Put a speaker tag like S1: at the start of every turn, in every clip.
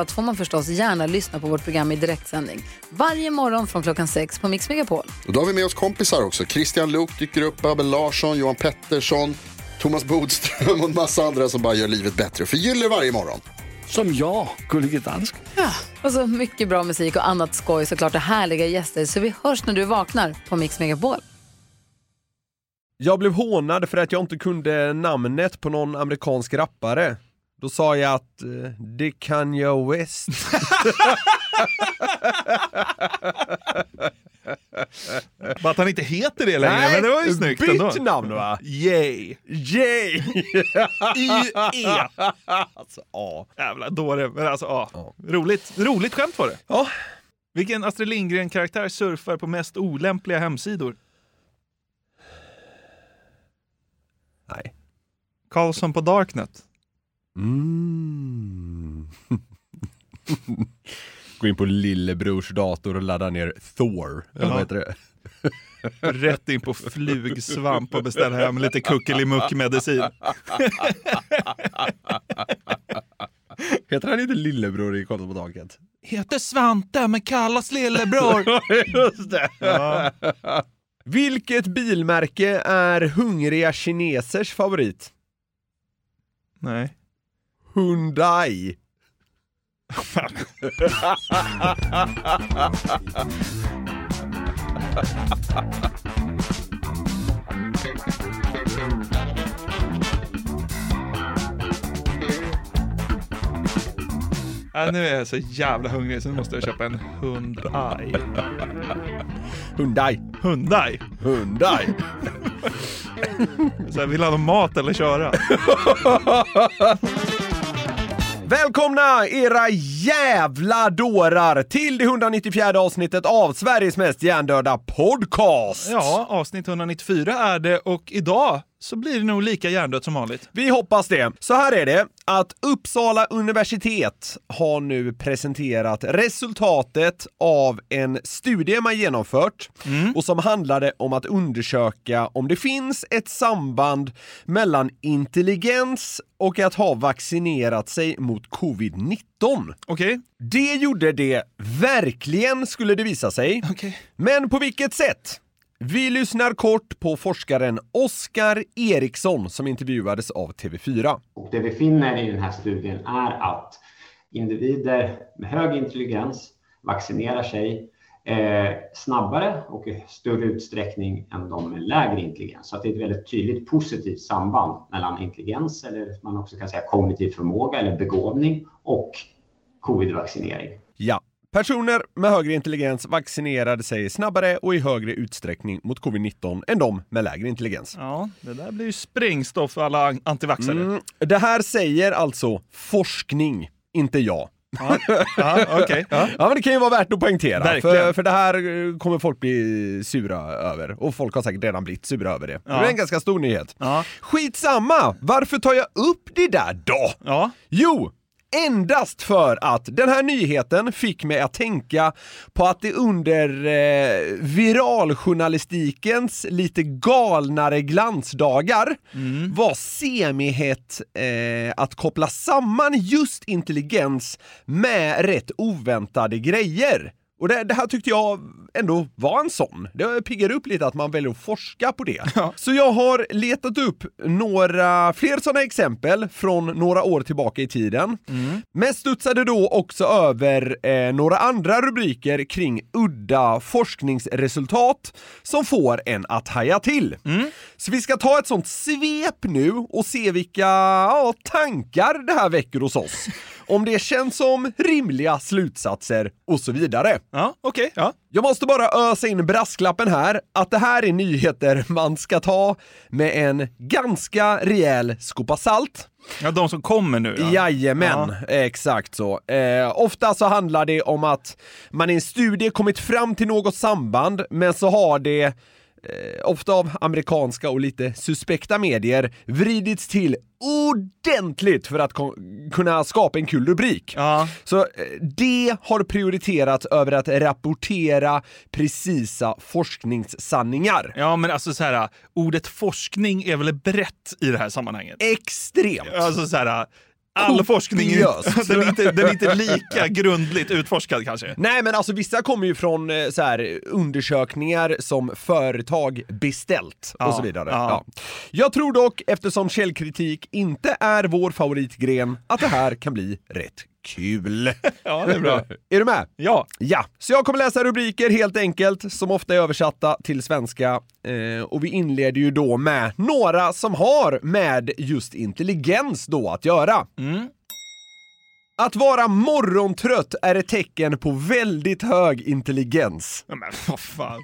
S1: allt får man förstås gärna lyssna på vårt program i direktsändning. Varje morgon från klockan sex på Mix Megapol.
S2: Och då har vi med oss kompisar också. Christian Luuk dyker upp, Abel Larsson, Johan Pettersson, Thomas Bodström och en massa andra som bara gör livet bättre och förgyller varje morgon.
S3: Som jag, Gullige Dansken.
S1: Och så mycket bra musik och annat skoj såklart och härliga gäster. Så vi hörs när du vaknar på Mix Megapol.
S4: Jag blev hånad för att jag inte kunde namnet på någon amerikansk rappare. Då sa jag att eh, det kan jag West.
S5: Bara att han inte heter det längre, men det var ju snyggt
S4: byt
S5: ändå.
S4: namn va? Yay. Yay.
S5: I-E.
S4: alltså, ja.
S5: Jävla dåre, men alltså ja. Roligt, roligt skämt var det.
S4: Ja.
S5: Vilken Astrid Lindgren-karaktär surfar på mest olämpliga hemsidor?
S4: Nej.
S5: Karlsson på Darknet.
S4: Mm. Gå in på lillebrors dator och ladda ner Thor. Eller
S5: Ja.
S4: vad heter det?
S5: Rätt in på flugsvamp och beställa hem lite kuckelimuck-medicin.
S4: Heter han inte lillebror i Kontot på taket?
S5: Heter Svante men kallas lillebror.
S4: Just det.
S5: Ja.
S4: Vilket bilmärke är hungriga kinesers favorit?
S5: Nej.
S4: Hyundai.
S5: Ja, nu är jag så jävla hungrig så nu måste jag köpa en Hyundai.
S4: Hyundai.
S5: Hyundai?
S4: Hyundai.
S5: Så här, vill han ha mat eller köra?
S4: Välkomna era jävla dårar till det 194 avsnittet av Sveriges mest hjärndöda podcast.
S5: Ja, avsnitt 194 är det och idag så blir det nog lika hjärndött som vanligt.
S4: Vi hoppas det. Så här är det att Uppsala universitet har nu presenterat resultatet av en studie man genomfört och som handlade om att undersöka om det finns ett samband mellan intelligens och att ha vaccinerat sig mot covid-19.
S5: Okej?
S4: Det gjorde det verkligen, skulle det visa sig.
S5: Okej.
S4: Men på vilket sätt? Vi lyssnar kort på forskaren Oskar Eriksson som intervjuades av TV4.
S6: Och det vi finner i den här studien är att individer med hög intelligens vaccinerar sig eh, snabbare och i större utsträckning än de med lägre intelligens. Så att det är ett väldigt tydligt positivt samband mellan intelligens, eller man också kan säga kognitiv förmåga eller begåvning, och covid-vaccinering.
S4: Ja. Personer med högre intelligens vaccinerade sig snabbare och i högre utsträckning mot covid-19 än de med lägre intelligens.
S5: Ja, det där blir ju sprängstoff för alla an- antivaxxare.
S4: Mm, det här säger alltså forskning, inte jag.
S5: Ja, okej. Ja.
S4: Ja, men det kan ju vara värt att poängtera.
S5: Verkligen.
S4: För, för det här eh, kommer folk bli sura över. Och folk har säkert redan blivit sura över det. Det är en ganska stor nyhet.
S5: Ja.
S4: Skitsamma! Varför tar jag upp det där då?
S5: Ja.
S4: Jo! Endast för att den här nyheten fick mig att tänka på att det under eh, viraljournalistikens lite galnare glansdagar var semihett eh, att koppla samman just intelligens med rätt oväntade grejer. Och det, det här tyckte jag ändå var en sån. Det piggar upp lite att man väljer att forska på det. Så jag har letat upp några fler sådana exempel från några år tillbaka i tiden. Men studsade då också över eh, några andra rubriker kring udda forskningsresultat som får en att haja till. Så vi ska ta ett sånt svep nu och se vilka ja, tankar det här väcker hos oss. Om det känns som rimliga slutsatser och så vidare.
S5: Ja, okej. Ja.
S4: Jag måste bara ösa in brasklappen här, att det här är nyheter man ska ta med en ganska rejäl skopa salt.
S5: Ja, de som kommer nu. Ja.
S4: Jajamän,
S5: Ja.
S4: exakt så. Eh, ofta så handlar det om att man i en studie kommit fram till något samband, men så har det eh, ofta av amerikanska och lite suspekta medier vridits till ordentligt för att kon- kunna skapa en kul rubrik.
S5: Ja.
S4: Så eh, det har prioriterats över att rapportera precisa forskningssanningar.
S5: ja, men alltså så här, ordet forskning är väl brett i det här sammanhanget?
S4: Eh. Extremt!
S5: Alltså så här, all forskning är,
S4: Kopiöst.
S5: den är, inte, den är inte lika grundligt utforskad kanske.
S4: Nej men alltså vissa kommer ju från eh, så här, undersökningar som företag beställt och så vidare.
S5: ja.
S4: Ja. Jag tror dock, eftersom källkritik inte är vår favoritgren, att det här kan bli rätt kul.
S5: Ja, det är bra.
S4: Är du med?
S5: Ja,
S4: Ja, så jag kommer läsa rubriker helt enkelt, som ofta är översatta till svenska. Eh, och vi inleder ju då med några som har med just intelligens då att göra.
S5: Mm.
S4: Att vara morgontrött är ett tecken på väldigt hög intelligens.
S5: Ja, men vad fan.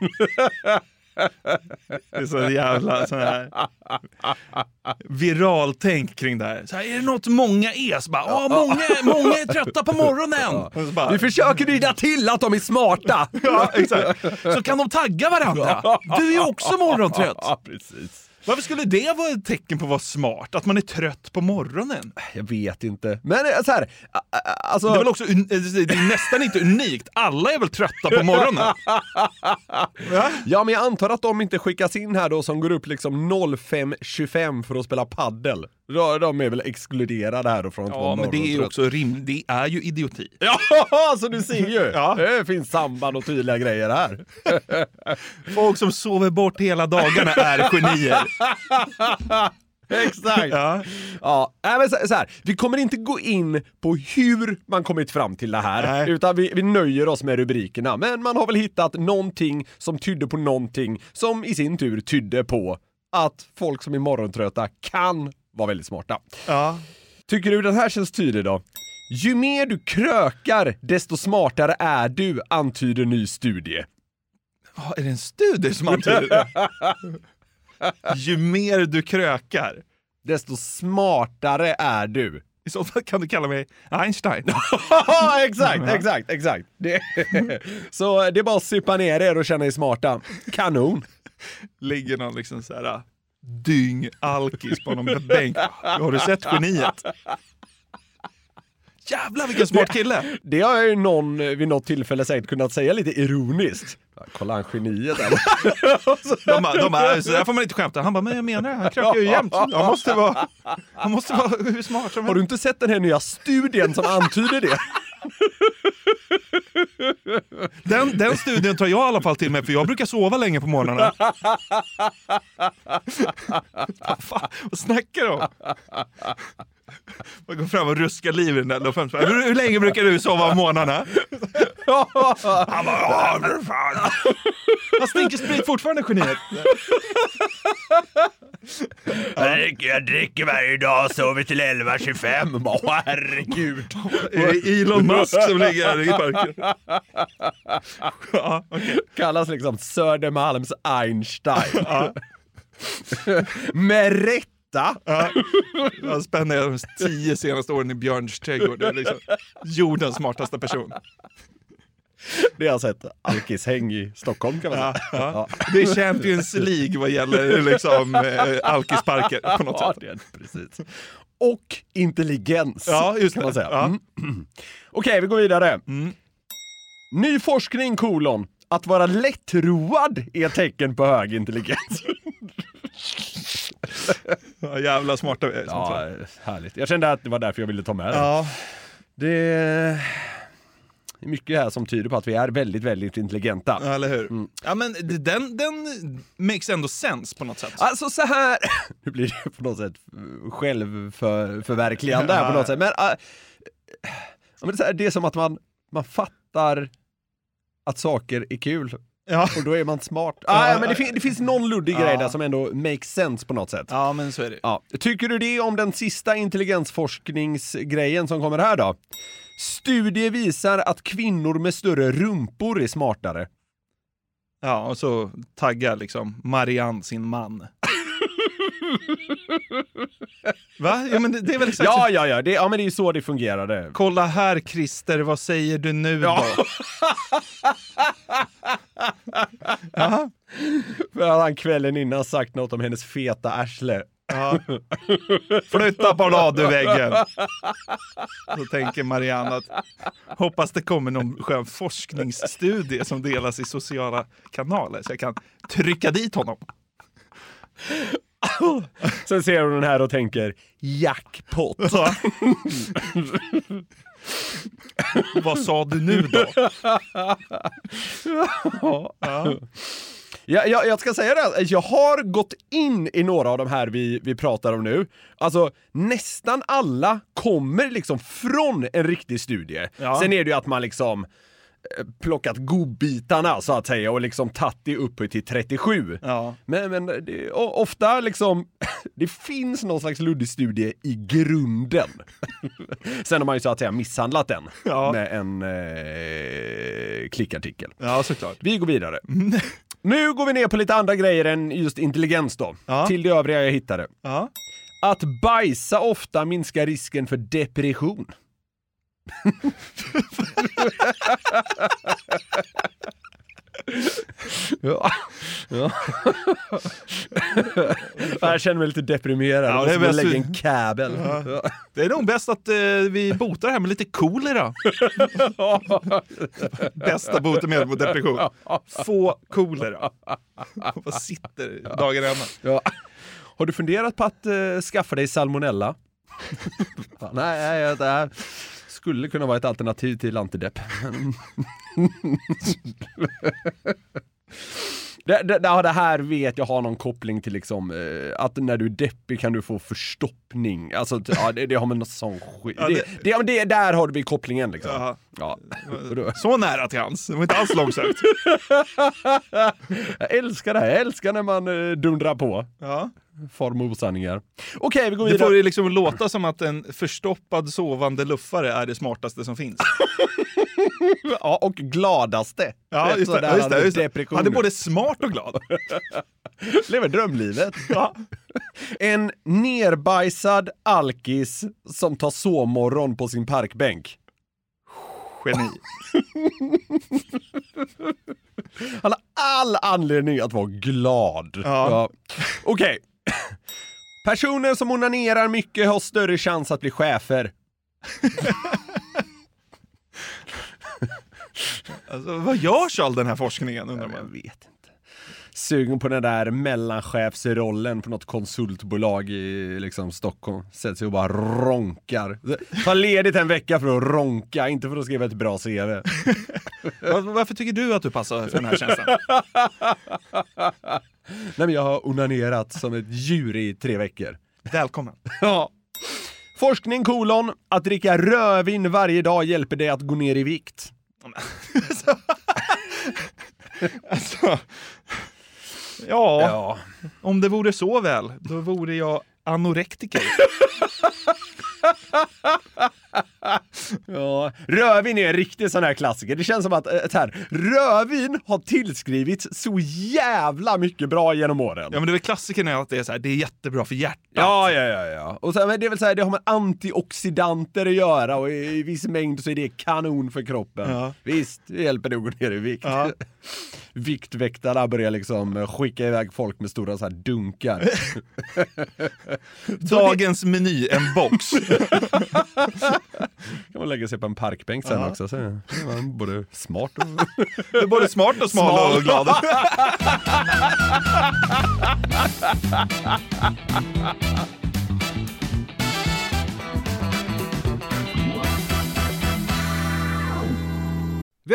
S5: Det är så jävla sån här viraltänk kring det här. Så här. Är det något många är? Så bara, ja, många, många är trötta på morgonen. Och Så, bara,
S4: Vi försöker rida till att de är smarta!
S5: ja, exakt. så kan de tagga varandra. Du är ju också morgontrött.
S4: precis.
S5: Varför skulle det vara ett tecken på att vara smart? Att man är trött på morgonen?
S4: Jag vet inte. Men eh, så här, a- a- alltså...
S5: Det är väl också un- eh, det är nästan inte unikt. Alla är väl trötta på morgonen?
S4: Ja, men jag antar att de inte skickas in här då som går upp liksom 05.25 för att spela paddel. De, de är väl exkluderade här då från att
S5: Ja,
S4: vara
S5: men det är ju
S4: morgontrött.
S5: också rimligt. Det är ju idioti.
S4: Ja, så Alltså, du ser ju!
S5: Ja.
S4: Det finns samband och tydliga grejer här.
S5: Folk som sover bort hela dagarna är genier.
S4: Exakt! ja,
S5: Ja.
S4: nej, men så, så här. vi kommer inte gå in på hur man kommit fram till det här,
S5: Nej.
S4: utan vi, vi nöjer oss med rubrikerna. Men man har väl hittat någonting som tydde på någonting som i sin tur tydde på att folk som är morgontrötta kan vara väldigt smarta.
S5: Ja.
S4: Tycker du den här känns tydlig då? Ju mer du krökar, desto smartare är du, antyder ny studie.
S5: Ja, Är det en studie som antyder det? Ju mer du krökar,
S4: Desto smartare är du.
S5: i så fall kan du kalla mig Einstein.
S4: Haha, exakt, exakt, exakt. Det. Så det är bara att supa ner er och känna er smarta. Kanon.
S5: Ligger någon liksom så här dyng-alkis på någon bänk. Har du sett geniet? Jävlar vilken smart kille!
S4: Det har jag ju någon eh, vid något tillfälle säkert kunnat säga lite ironiskt. Ja, Kolla han geniet eller?
S5: De, bara- de bara, så där får man inte skämta. Han bara, men jag menar det, han krökar ju jämt. Han måste vara, han måste vara hur smart som helst.
S4: Har du inte sett den här nya studien som antyder det?
S5: Den, den studien tar jag i alla fall till mig för jag brukar sova länge på morgonen. Fan, vad snackar du om? Man går fram och ruskar liv i den där luffen. Hur, hur länge brukar du sova på morgnarna? Han bara, ja för fan. Han stinker sprit fortfarande geniet.
S4: Jag dricker varje dag och sover till 11.25. Bara, herregud.
S5: Är det Elon Musk som ligger här i parken? Ja, okej.
S4: Kallas liksom Södermalms Einstein. Med rätta.
S5: Han spenderade de tio senaste åren i Björns trädgård. Det är liksom jordens smartaste person.
S4: Det har jag sett alkishäng i Stockholm kan man säga.
S5: Ja. Det är Champions League vad gäller liksom, eh, alkisparker på något
S4: Ja,
S5: sätt.
S4: det är det, precis. Och intelligens
S5: Ja, just
S4: kan
S5: det.
S4: man säga.
S5: Ja.
S4: Mm. Okej, vi går vidare. Ny forskning kolon. Att vara lättroad är ett tecken på hög intelligens.
S5: Ja, jävla smarta vi är. som fan.
S4: härligt. Jag kände att det var därför jag ville ta med det.
S5: Ja.
S4: Det är mycket här som tyder på att vi är väldigt, väldigt intelligenta.
S5: ja, eller hur?
S4: Mm.
S5: Ja, men det- den, den makes ändå sens på något sätt.
S4: Alltså så här, nu blir det på något sätt självförverkligande här på något sätt, men, äh, ja, men det, är så här, det är som att man, man fattar att saker är kul
S5: Ja.
S4: och då är man smart. Ah, ja, men det, fin- det finns någon luddig grej där som ändå makes sense på något sätt.
S5: ja, men så är det.
S4: Ja. Tycker du det om den sista intelligensforskningsgrejen som kommer här då? Studier visar att kvinnor med större rumpor är smartare.
S5: Ja, och så taggar liksom Marianne sin man. Va? Ja, men det, det är väl exakt så-
S4: Ja, ja, ja. Det, ja, men det är ju så det fungerade.
S5: Kolla här Christer, vad säger du nu då?
S4: För att han kvällen innan sagt något om hennes feta arsle.
S5: Ja. Flytta på laduväggen. Då tänker Marianne att hoppas det kommer någon skön forskningsstudie som delas i sociala kanaler så jag kan trycka dit honom.
S4: Sen ser hon den här och tänker jackpot.
S5: Så. Vad sa du nu då?
S4: Jag, jag, jag ska säga det, här, jag har gått in i några av de här vi, vi pratar om nu. Alltså nästan alla kommer liksom från en riktig studie.
S5: Ja.
S4: Sen är det ju att man liksom eh, plockat godbitarna så att säga och liksom tagit det upp till 37.
S5: Ja.
S4: Men, men det, o- ofta liksom, det finns någon slags luddig studie i grunden. Sen har man ju så att säga misshandlat den
S5: Ja.
S4: med en eh, klickartikel.
S5: Ja, såklart.
S4: Vi går vidare.
S5: Mm.
S4: Nu går vi ner på lite andra grejer än just intelligens då.
S5: Ja.
S4: Till det övriga jag hittade.
S5: Ja.
S4: Att bajsa ofta minskar risken för depression. ja. ja. jag känner mig lite deprimerad.
S5: Ja,
S4: Ja,
S5: det
S4: det
S5: är
S4: är
S5: bäst-
S4: lägga en kabel. Ja.
S5: Det är nog bäst att eh, vi botar det här med lite kolera. Bästa botemedel mot depression. Få kolera. Vad sitter dagen ända?
S4: Har du funderat på att eh, skaffa dig salmonella? Fan, nej, nej, jag- det här skulle kunna vara ett alternativ till antidepp. det, det, det, det här vet jag har någon koppling till liksom, eh, att när du är deppig kan du få förstoppning. Alltså, t- ja, det, det har med något sån skit.
S5: Ja,
S4: det,
S5: det-
S4: det, ja, men det, där har vi kopplingen liksom.
S5: Ja.
S4: Ja. Och då-
S5: Så nära till hans. Det var inte alls långsökt.
S4: Jag älskar det här, jag älskar när man eh, dundrar på.
S5: Ja.
S4: Far med osanningar. Okej, vi går
S5: Det
S4: vidare.
S5: får ju liksom låta som att en förstoppad sovande luffare är det smartaste som finns.
S4: Ja, och gladaste.
S5: Ja, just det.
S4: Sådär
S5: Ja, just
S4: hade
S5: det, just det.
S4: depression.
S5: Han är både smart och glad.
S4: Lever drömlivet. En nerbajsad alkis som tar sovmorgon på sin parkbänk.
S5: Geni.
S4: Han har all anledning att vara glad.
S5: Ja.
S4: Okej. Personer som onanerar mycket har större chans att bli chefer.
S5: Alltså, vad görs all den här forskningen undrar
S4: Jag
S5: man?
S4: vet inte. Sugen på den där mellanchefsrollen på något konsultbolag i liksom, Stockholm. Sätter sig och bara ronkar. Ta ledigt en vecka för att ronka, inte för att skriva ett bra CV.
S5: Var- Varför tycker du att du passar för den här tjänsten?
S4: Nej men jag har onanerat som ett djur i tre veckor.
S5: Välkommen.
S4: Ja. Forskning kolon, att dricka rödvin varje dag hjälper dig att gå ner i vikt.
S5: Alltså, ja, om det vore så väl, då vore jag anorektiker.
S4: Ja, rödvin är en riktig sån här klassiker. Det känns som att eh, så här, rödvin har tillskrivits så jävla mycket bra genom åren.
S5: Ja, men det är väl klassikern är att det är så här, det är jättebra för hjärtat.
S4: Ja, ja, ja, ja. Och sen, men det är väl så här, det har med antioxidanter att göra och i i viss mängd så är det kanon för kroppen.
S5: Ja.
S4: Visst, det hjälper det att gå ner i vikt.
S5: Ja.
S4: Viktväktarna börjar liksom skicka iväg folk med stora så här dunkar.
S5: Dagens meny, en box.
S4: kan man lägga sig på en parkbänk sen också. Så är man både smart och...
S5: Du är både smart och smal,
S4: Smal.
S5: och glad.
S4: Vi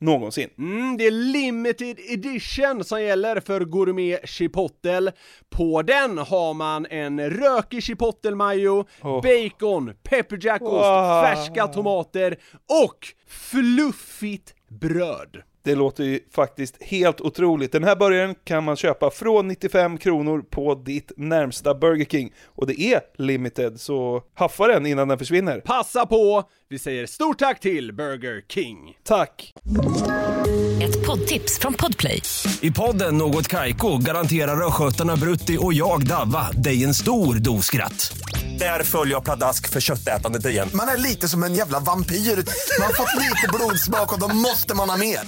S7: någonsin.
S8: Mm, det är limited edition som gäller för gourmet chipotle. På den har man en rökig chipotle-majo,
S4: Oh.
S8: bacon, pepperjackost,
S7: Wow.
S8: färska tomater och fluffigt bröd.
S7: Det låter ju faktiskt helt otroligt. Den här burgaren kan man köpa från 95 kronor på ditt närmsta Burger King. Och det är limited, så haffa den innan den försvinner.
S8: Passa på! Vi säger stort tack till Burger King.
S7: Tack!
S9: Ett poddtips från Podplay.
S10: I podden Något Kaiko garanterar östgötarna Brutti och jag, Davva, dig en stor dos skratt. Där följer jag pladask för köttätandet igen.
S11: Man är lite som en jävla vampyr. Man har fått lite blodsmak och då måste man ha mer.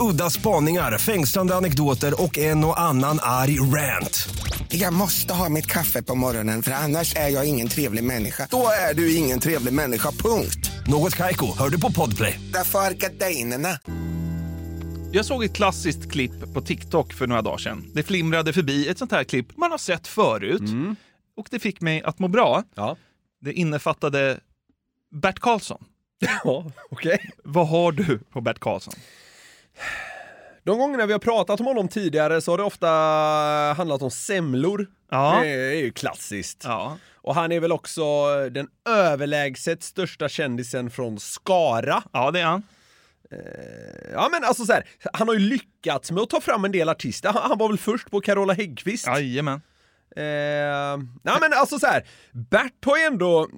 S10: Udda spaningar, fängslande anekdoter och en och annan arg rant.
S11: Jag måste ha mitt kaffe på morgonen för annars är jag ingen trevlig människa. Då är du ingen trevlig människa, punkt.
S10: Något Kaiko, hör du på Podplay.
S11: Därför är gardinerna.
S5: Jag såg ett klassiskt klipp på TikTok för några dagar sedan. Det flimrade förbi ett sånt här klipp man har sett förut. Och det fick mig att må bra.
S4: Ja.
S5: Det innefattade Bert Karlsson.
S4: Ja, okej.
S5: Vad har du på Bert Karlsson?
S4: De gångerna vi har pratat om honom tidigare så har det ofta handlat om semlor.
S5: Ja.
S4: Det är ju klassiskt.
S5: Ja.
S4: Och han är väl också den överlägset största kändisen från Skara.
S5: Ja, det är han.
S4: Ja men alltså så här, han har ju lyckats med att ta fram en del artister. Han, han var väl först på Carola Häggkvist?
S5: Jajamän.
S4: Eh, nej men alltså så här, Bert har ju ändå...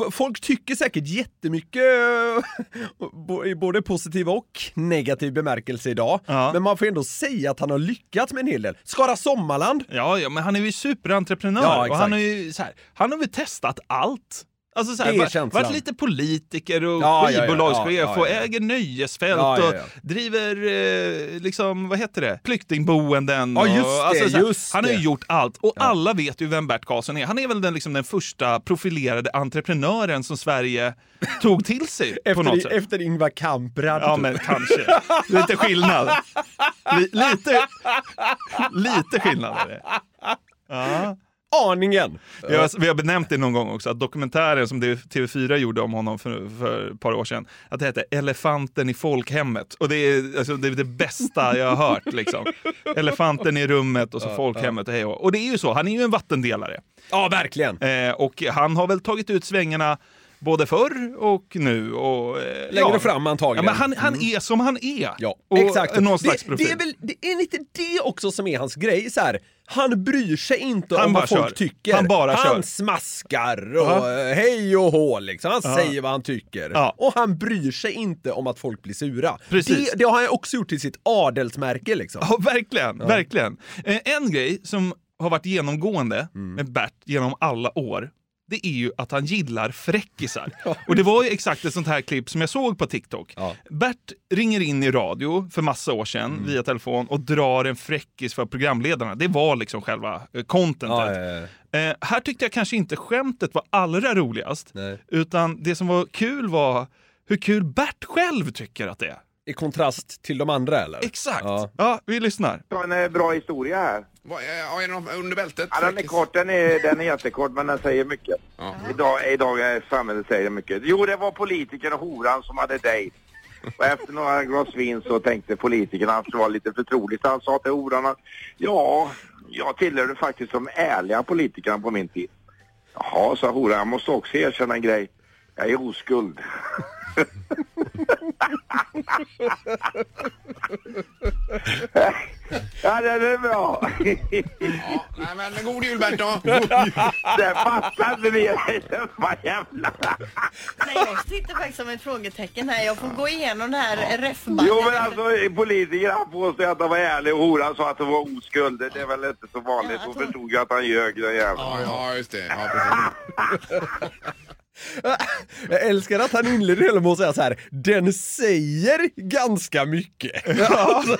S4: F- Folk tycker säkert jättemycket eh, bo- i både positiv och negativ bemärkelse idag.
S5: Ja.
S4: Men man får ändå säga att han har lyckats med en hel del. Skara Sommarland!
S5: Ja, ja, men han är ju superentreprenör.
S4: Ja,
S5: och
S4: exakt.
S5: han, är ju, så här, han har väl testat allt. Alltså så
S4: Det är
S5: här, var,
S4: känslan.
S5: varit lite politiker och
S4: Ja, ja, ja,
S5: skivbolagschef
S4: ja, ja, ja.
S5: och äger nöjesfält
S4: Ja, ja, ja.
S5: och driver, eh, liksom, vad heter det, flyktingboenden.
S4: Ja, just
S5: och, alltså
S4: det,
S5: så här,
S4: just
S5: han har ju
S4: det.
S5: gjort allt och alla vet ju vem Bert Karlsson är. Han är väl den, liksom, den första profilerade entreprenören som Sverige tog till sig på något
S4: Efter,
S5: sätt.
S4: efter Ingvar Kamprad.
S5: Ja, men kanske. Lite skillnad. Li- lite, lite skillnad är det. Ja.
S4: Aningen!
S5: Vi har, vi har benämnt det någon gång också, att dokumentären som TV4 gjorde om honom för, för ett par år sedan, att det hette Elefanten i folkhemmet. Och det är, alltså, det, är det bästa jag har hört. Liksom. Elefanten i rummet och så folkhemmet och hej och hå. Och det är ju så, han är ju en vattendelare.
S4: Ja, verkligen.
S5: Eh, och han har väl tagit ut svängarna både förr och nu. Och, eh,
S4: Längre
S5: ja.
S4: fram
S5: Ja,
S4: antagligen. Mm.
S5: men han, han är som han är.
S4: Ja,
S5: och
S4: exakt.
S5: Någon
S4: det,
S5: slags profil.
S4: det, är väl, det är lite det också som är hans grej. Så här, han bryr sig inte
S5: Han
S4: om
S5: bara
S4: vad folk
S5: kör.
S4: tycker.
S5: Han bara
S4: han
S5: kör.
S4: smaskar och
S5: Ja.
S4: eh, hej och hå liksom. Han säger vad han tycker.
S5: Ja.
S4: Och han bryr sig inte om att folk blir sura.
S5: Precis.
S4: Det, det har han också gjort till sitt adelsmärke liksom.
S5: Ja, verkligen. verkligen. Eh, en grej som har varit genomgående
S4: Mm.
S5: med Bert genom alla år, det är ju att han gillar fräckisar. Och det var ju exakt ett sånt här klipp som jag såg på TikTok.
S4: Ja. Mm.
S5: Bert ringer in i radio för massa år sedan via telefon och drar en fräckis för programledarna. Det var liksom själva eh, contentet.
S4: Ja, ja, ja.
S5: Eh, här tyckte jag kanske inte skämtet var allra roligast,
S4: Nej.
S5: utan det som var kul var hur kul Bert själv tycker att det är.
S4: I kontrast till de andra eller?
S5: Exakt!
S4: Ja.
S5: ja vi lyssnar.
S11: Jag har en eh, bra historia här.
S2: eh, Ja, är det någon under bältet?
S11: Ja, den är kort, den är, den är jättekort men den säger mycket. Idag, idag är eh, samhället säger mycket. Jo, det var politiker och horan som hade dejt. Och efter några glas vin så tänkte politikerna att det var lite förtroligt. Han sa till horan att ja, jag tillhörde faktiskt de ärliga politikerna på min tid. Jaha, sa horan, jag måste också erkänna en grej. Jag är oskuld. ja, den är bra.
S2: Nej, men god jul Bert då!
S11: Det fattar inte vi. Vad jävla...
S9: Nej, jag sitter faktiskt som ett frågetecken här. Jag får gå igenom den här refbanken.
S11: Jo men alltså politiker han påstår att han var ärlig och horan sa att det var oskuld. Det är väl inte så vanligt. Hon förstod ju att han ljög den jäveln.
S2: Ja, just det. Ja, precis.
S4: Jag älskar att han inleder hela med att säga så här, den säger ganska mycket. Alltså.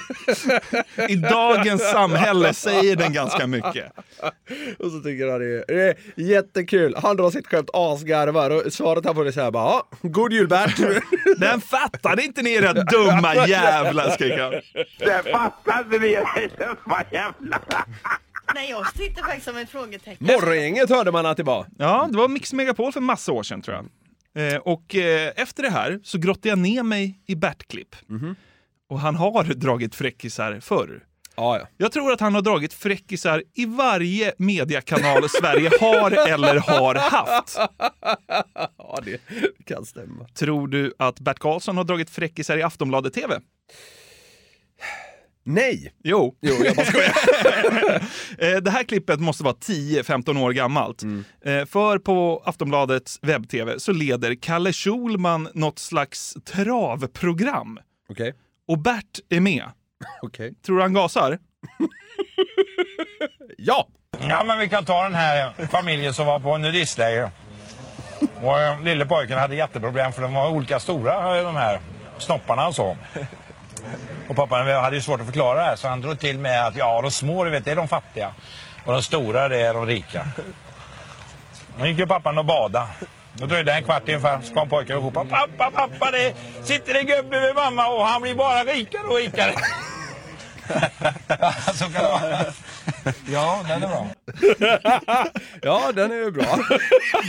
S5: I dagens samhälle säger den ganska mycket.
S4: Och så tycker han det är, det är jättekul. Han drar sitt skämt asgarvar och svaret han får är så här bara, ja, god jul Bert.
S5: Den fattade inte ni era dumma jävlar, skriker han.
S12: Det fattade ni, det var jävla...
S13: Nej, jag sitter faktiskt som ett frågetecken.
S4: Morgongänget hörde man att det var.
S5: Ja, det var Mix Megapol för massa år sedan tror jag. Eh, och eh, efter det här så grottade jag ner mig i Bert-klipp. Och han har dragit fräckisar förr.
S4: Ja, ja.
S5: Jag tror att han har dragit fräckisar i varje mediakanal Sverige har eller har haft.
S4: Ja, det kan stämma.
S5: Tror du att Bert Karlsson har dragit fräckisar i Aftonbladet TV?
S4: Nej!
S5: Jo.
S4: Jo, jag bara skojar.
S5: Eh, Det här klippet måste vara 10-15 år gammalt.
S4: Mm.
S5: Eh, För på Aftonbladets webb-tv så leder Kalle Schulman något slags travprogram.
S4: Okej.
S5: Och Bert är med.
S4: Okej.
S5: Tror du han gasar?
S4: Ja!
S14: Ja, men vi kan ta den här familjen som var på nudistläger. Och eh, lille pojken hade jätteproblem för de var olika stora eh, de här snopparna och så. Och pappan hade ju svårt att förklara det här så han drog till med att ja, de små du vet, det är de fattiga. Och de stora det är de rika. Då gick ju pappan och bada. Då dröjde det en kvart ungefär så kom pojken och ropade pappa, pappa det sitter en gubbe med mamma och han blir bara rikare och rikare. så kan det vara. Ja, den är bra.
S4: ja, den är ju bra.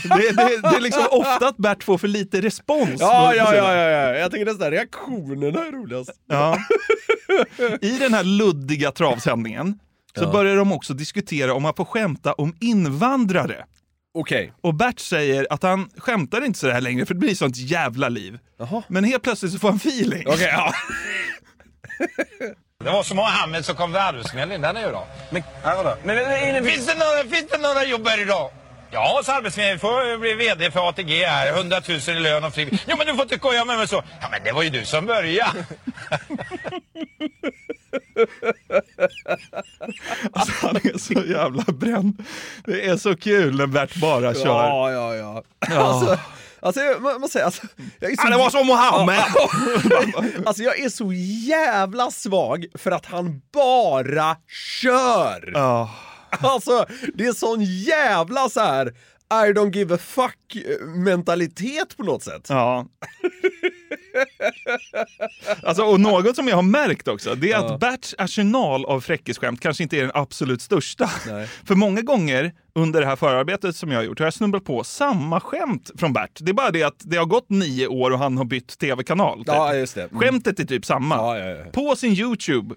S5: Det, det, det är liksom ofta att Bert får för lite respons.
S4: Ja, ja, ja, ja, ja. jag tycker nästan reaktionerna är roligast.
S5: Ja. I den här luddiga travsändningen så börjar de också diskutera om man får skämta om invandrare.
S4: Okej.
S5: Och Bert säger att han skämtar inte så här längre för det blir sånt jävla liv. Men helt plötsligt så får han feeling.
S4: Okej, ja.
S14: Det var som Mohammed som kom till Arbetsförmedlingen. Den är ju då. Men, finns, det några, finns det några jobb här idag? Ja, så Arbetsförmedlingen får bli VD för ATG här. 100 000 i lön och frivilligt. Jo, men du får inte koja med mig så. Ja, men det var ju du som började.
S5: Alltså, han är så jävla bränd. Det är så kul när Bert bara kör.
S4: Ja, ja, ja. Alltså, alltså jag må- måste säga, alltså, jag är så...
S5: Ja, det var som Mohammed.
S4: alltså jag är så jävla svag för att han bara kör!
S5: Ja.
S4: Alltså, det är sån jävla så här I don't give a fuck mentalitet på något sätt.
S5: Ja. Alltså, och något som jag har märkt också, det är
S4: Ja.
S5: att Berts arsenal av fräckisskämt kanske inte är den absolut största.
S4: Nej.
S5: För många gånger under det här förarbetet som jag har gjort har jag snubblat på samma skämt från Bert. Det är bara det att det har gått nio år och han har bytt tv-kanal. Typ.
S4: Ja, just det. Mm.
S5: Skämtet är typ samma.
S4: Ja, ja, ja.
S5: På sin YouTube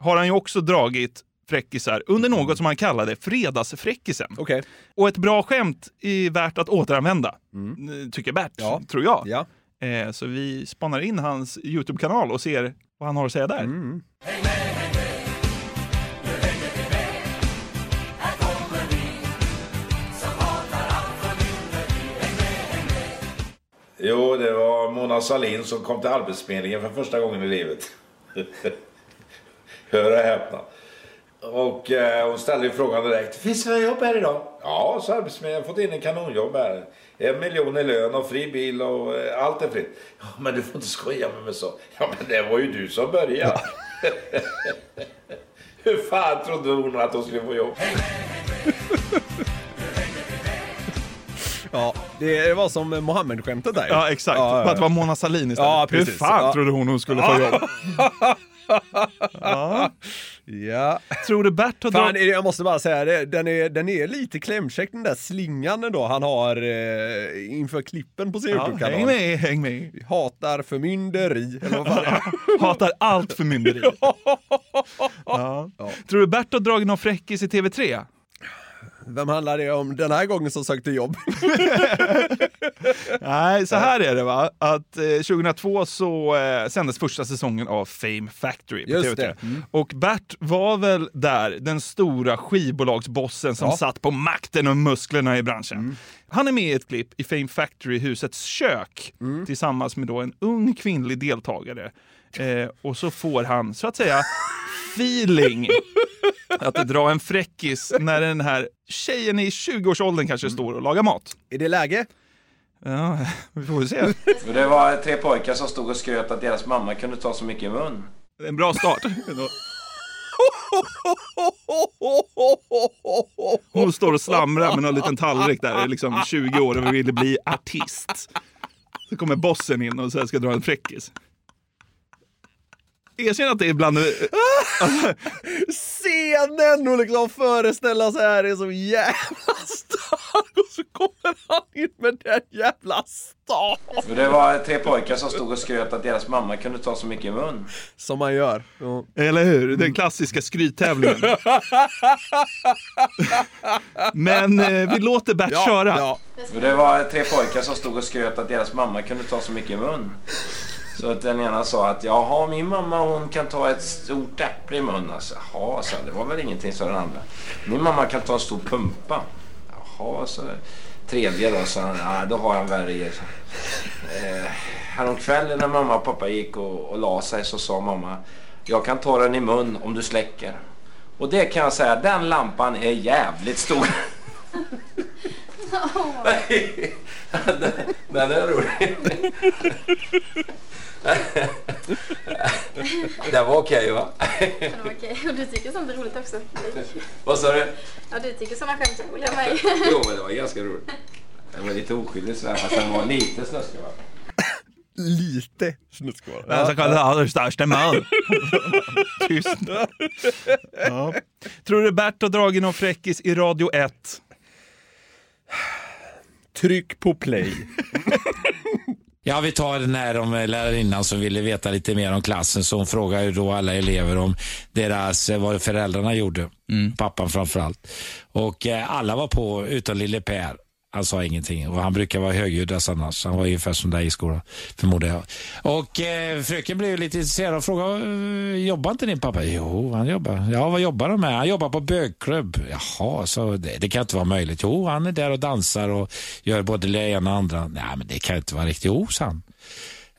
S5: har han ju också dragit fräckisar under
S4: Mm.
S5: något som han kallade fredagsfräckisen.
S4: Okej.
S5: Och ett bra skämt är värt att återanvända, tycker Bert, tror jag.
S4: Mm. Ja.
S5: Eh, så vi spanar in hans YouTube-kanal och ser vad han har att säga där.
S4: Mm.
S8: Jo, det var Mona Sahlin som kom till Arbetsförmedlingen för första gången i livet. Hör och häpna. Och eh, hon ställde ju frågan direkt. Finns det några jobb här idag? Ja, så Arbetsförmedlingen har fått in en kanonjobb här. En miljon i lön och fri bil och eh, allt är fritt. Ja, men du får inte skoja med mig så. Ja, men det var ju du som började. Hur fan trodde hon att hon skulle få jobb?
S4: Ja, det var som Mohammed-skämtet där.
S5: Ja, exakt.
S4: Ja,
S5: Bara
S4: ja,
S5: att det var Mona Sahlin istället.
S4: Ja,
S5: Hur
S4: precis.
S5: fan
S4: Ja.
S5: trodde hon hon skulle få jobb? ja.
S4: ja.
S5: Tror du Bert har
S4: Fan,
S5: dragit...
S4: jag måste bara säga det, den är, den är lite klämkäck den där slingan då han har eh, inför klippen på sin
S5: Ja,
S4: YouTube-kanal.
S5: häng med, häng med.
S4: Vi hatar förmynderi, eller vad fan det är.
S5: Hatar allt förmynderi. ja. Tror du Bert har dragit någon fräckis i TV3?
S4: Vem handlar det om den här gången som sökte jobb?
S5: Nej, så här är det va. Att eh, 2002 så eh, sändes första säsongen av Fame Factory på
S4: Just
S5: TV3.
S4: det. Mm.
S5: Och Bert var väl där den stora skivbolagsbossen som
S4: Ja. Mm.
S5: satt på makten och musklerna i branschen. Han är med i ett klipp i Fame Factory-husets kök
S4: Mm.
S5: tillsammans med då en ung kvinnlig deltagare. Eh, och så får han, så att säga, feeling att dra en
S4: Mm.
S5: fräckis när den här tjejen i 20-årsåldern kanske står och lagar mat.
S4: Är det läge?
S5: Ja, vi får väl se.
S15: Och det var tre pojkar som stod och skröt att deras mamma kunde ta så mycket i mun.
S5: En bra start. Hon står och slamrar med en liten tallrik där, liksom 20 år och ville bli artist. Så kommer bossen in och så här ska dra en fräckis. Erkänn att det är bland det-
S16: Scenen och liksom föreställa sig här är så jävla stark och så kommer han in med den jävla staven.
S15: Och det var tre pojkar som stod och skröt att deras mamma kunde ta så mycket i mun.
S8: Som man gör. Ja.
S5: Eller hur? Den klassiska skryttävlingen. Men eh, vi låter Bert köra.
S15: Och det var tre pojkar som stod och skröt att deras mamma kunde ta så mycket i mun. Så att den ena sa att jaha, min mamma hon kan ta ett stort äpple i munnen. Alltså, jaha, så det var väl ingenting, sa den andra. Min mamma kan ta en stor pumpa. Jaha, så Tredje då, sa han. Ja, då har han värre grejer. sa han. Eh, häromkvällen när mamma och pappa gick och, och la sig så sa mamma jag kan ta den i mun om du släcker. Och det kan jag säga, den lampan är jävligt stor. den, den är rolig. den var okej va?
S13: Okej, och du tycker sånt är roligt också.
S15: Vad sa du?
S13: Ja, du tycker såna skämt är roliga mig.
S15: Jo men det var ganska roligt. Den var lite oskyldig sådär fast den var lite snuskig va?
S8: Lite snuskvara.
S5: Den som kan ta den största man. Tyst. Ja. Tror du Bert har dragit någon fräckis i Radio 1?
S8: Tryck på play.
S17: Ja, vi tar den här om eh, lärarinnan som ville veta lite mer om klassen. Så hon frågar ju då alla elever om deras, eh, vad föräldrarna gjorde. Pappan framför allt. Och eh, alla var på, utom lille Per. Han sa ingenting och han brukar vara högljuddast annars. Han var ungefär som dig i skolan, förmodar jag. Och eh, fröken blev ju lite intresserad och frågade, "Eh, jobbar inte din pappa? Jo, han jobbar. Ja, vad jobbar de med? Han jobbar på bögklubb. Jaha, så det, det kan inte vara möjligt. Jo, han är där och dansar och gör både det ena och andra. Nej, men det kan inte vara riktigt. Jo, sa han.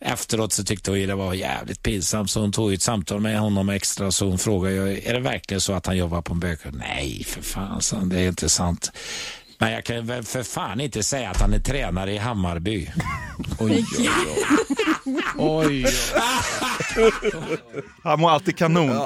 S17: Efteråt så tyckte hon ju det var jävligt pinsamt så hon tog ju ett samtal med honom extra så hon frågade ju, är det verkligen så att han jobbar på en bögklubb? Nej, för fan, sa han, det är inte sant. Men jag kan väl för fan inte säga att han är tränare i Hammarby. Oj, oj,
S5: Oj. Han mår alltid kanon.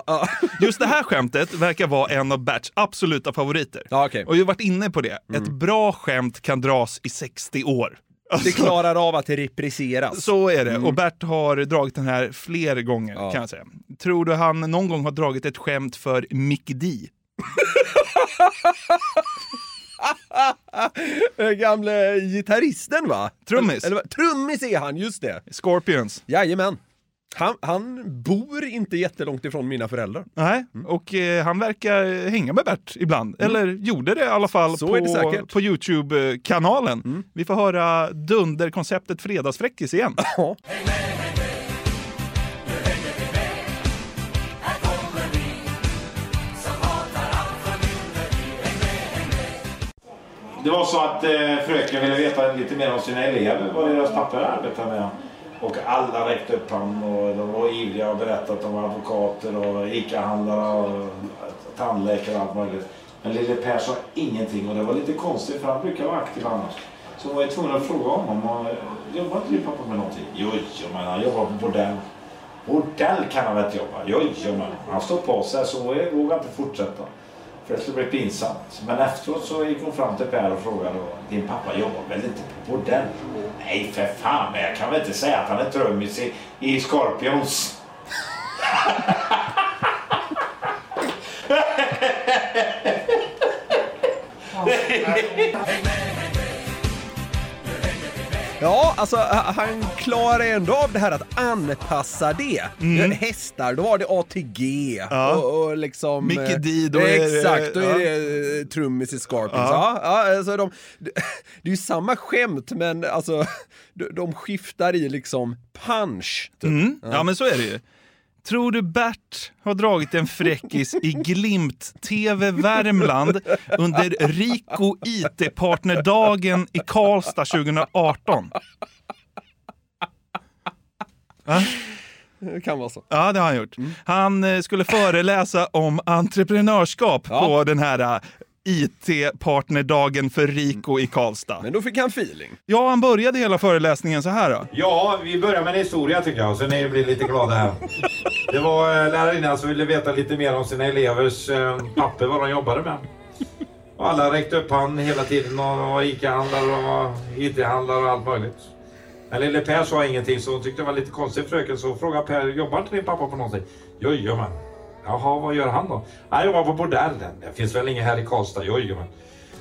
S5: Just det här skämtet verkar vara en av Berts absoluta favoriter. Och jag har varit inne på det. Ett bra skämt kan dras i 60 år.
S4: Det klarar av att repriseras.
S5: Så är det.
S4: Mm.
S5: Och Bert har dragit den här fler gånger kan jag säga. Tror du han någon gång har dragit ett skämt för Mick D?
S4: Den gamle gitarristen va?
S5: Trummis.
S4: Eller, vad- trummis är han, just det.
S5: Scorpions.
S4: Jajamän. Han, han bor inte jättelångt ifrån mina föräldrar.
S5: Nej,
S4: Mm.
S5: och eh, han verkar hänga med Bert ibland. Eller gjorde det i alla fall
S4: Så är det
S5: på,
S4: säkert. Mm.
S5: på Youtube-kanalen. Vi får höra dunderkonceptet Fredagsfräckis igen.
S18: Det var så att eh, fröken ville veta lite mer om sina elever, vad deras papper arbetar med. Och alla räckte upp handen och de var ivriga och berättade att de var advokater och ICA-handlare och tandläkare och allt möjligt. Men lille Per sa ingenting och det var lite konstigt för han brukar vara aktiv annars. Så var jag tvungen att fråga honom, och, jobbar inte din pappa med någonting? Jo, jo, men han jobbar på bordell. Bordell kan han väl inte jobba? Jo, jo, men han står på sig så jag vågar inte fortsätta. För det skulle bli pinsamt. Men efteråt så gick hon fram till Per och frågade då, din pappa jobbar väl inte på bordell? Nej för fan, men jag kan väl inte säga att han är trummis i, i Scorpions.
S4: Ja, alltså h- han klarar ändå av det här att anpassa det.
S5: Mm.
S4: Hästar, då var det ATG
S5: Ja.
S4: och, och liksom...
S5: Mickey
S4: eh,
S5: D, då är det-
S4: Exakt, då är
S5: ja.
S4: det eh, trummis i Scorpions.
S5: Ja.
S4: Ja. Ja, alltså de, det det är ju samma skämt, men alltså de, de skiftar i liksom punch. typ.
S5: Mm. Ja, men så är det ju. Tror du Bert har dragit en fräckis i Glimt-TV Värmland under Rico IT-partnerdagen i Karlstad 2018? Va?
S4: Det kan vara så.
S5: Ja, det har han gjort. Han eh, skulle föreläsa om entreprenörskap på den här eh, IT-partnerdagen för Rico i Karlstad. Men
S19: då fick han feeling.
S5: Ja, han började hela föreläsningen så här då.
S20: Ja, vi börjar med en historia tycker jag, så ni blir lite glada här. Det var eh, lärarinnan som ville veta lite mer om sina elevers eh, papper, vad de jobbade med. Och alla räckte upp hand hela tiden och var ICA-handlare och IT-handlare och allt möjligt. Men lille Per sa ingenting så hon tyckte det var lite konstigt fröken så hon frågade Per, jobbar inte din pappa på någonting? Jajamän. Jaha, vad gör han då? Han jobbar på bordellen. Det finns väl ingen här i Karlstad? Jajamän.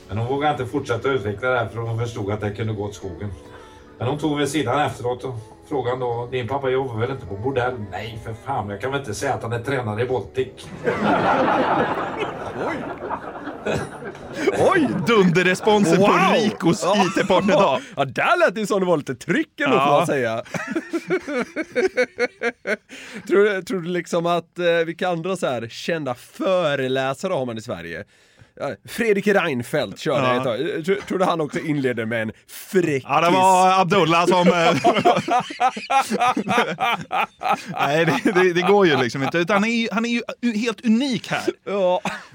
S20: Men hon vågade inte fortsätta utveckla det här för hon förstod att det kunde gå åt skogen. Men hon tog vid sidan efteråt och frågade då, din pappa jobbar väl inte på bordell? Nej för fan, jag kan väl inte säga att han är tränare i Baltic.
S5: Oj! Dunderresponsen
S4: Wow!
S5: på Ricos
S4: Ja.
S5: IT-partnerdag.
S19: Ja, där lät det som det var lite tryck
S4: ändå, får man
S19: säga.
S4: tror, du- tror du liksom att eh, vilka andra så här kända föreläsare har man i Sverige? Ja, Fredrik Reinfeldt körde
S5: Ja.
S4: ett tag. Eh, tror- Tror du han också inledde med en fräckis?
S5: Ja, det var Abdullah som... eh, Nej, det, det, det går ju liksom inte. Utan han, är ju, han är ju u- helt unik här.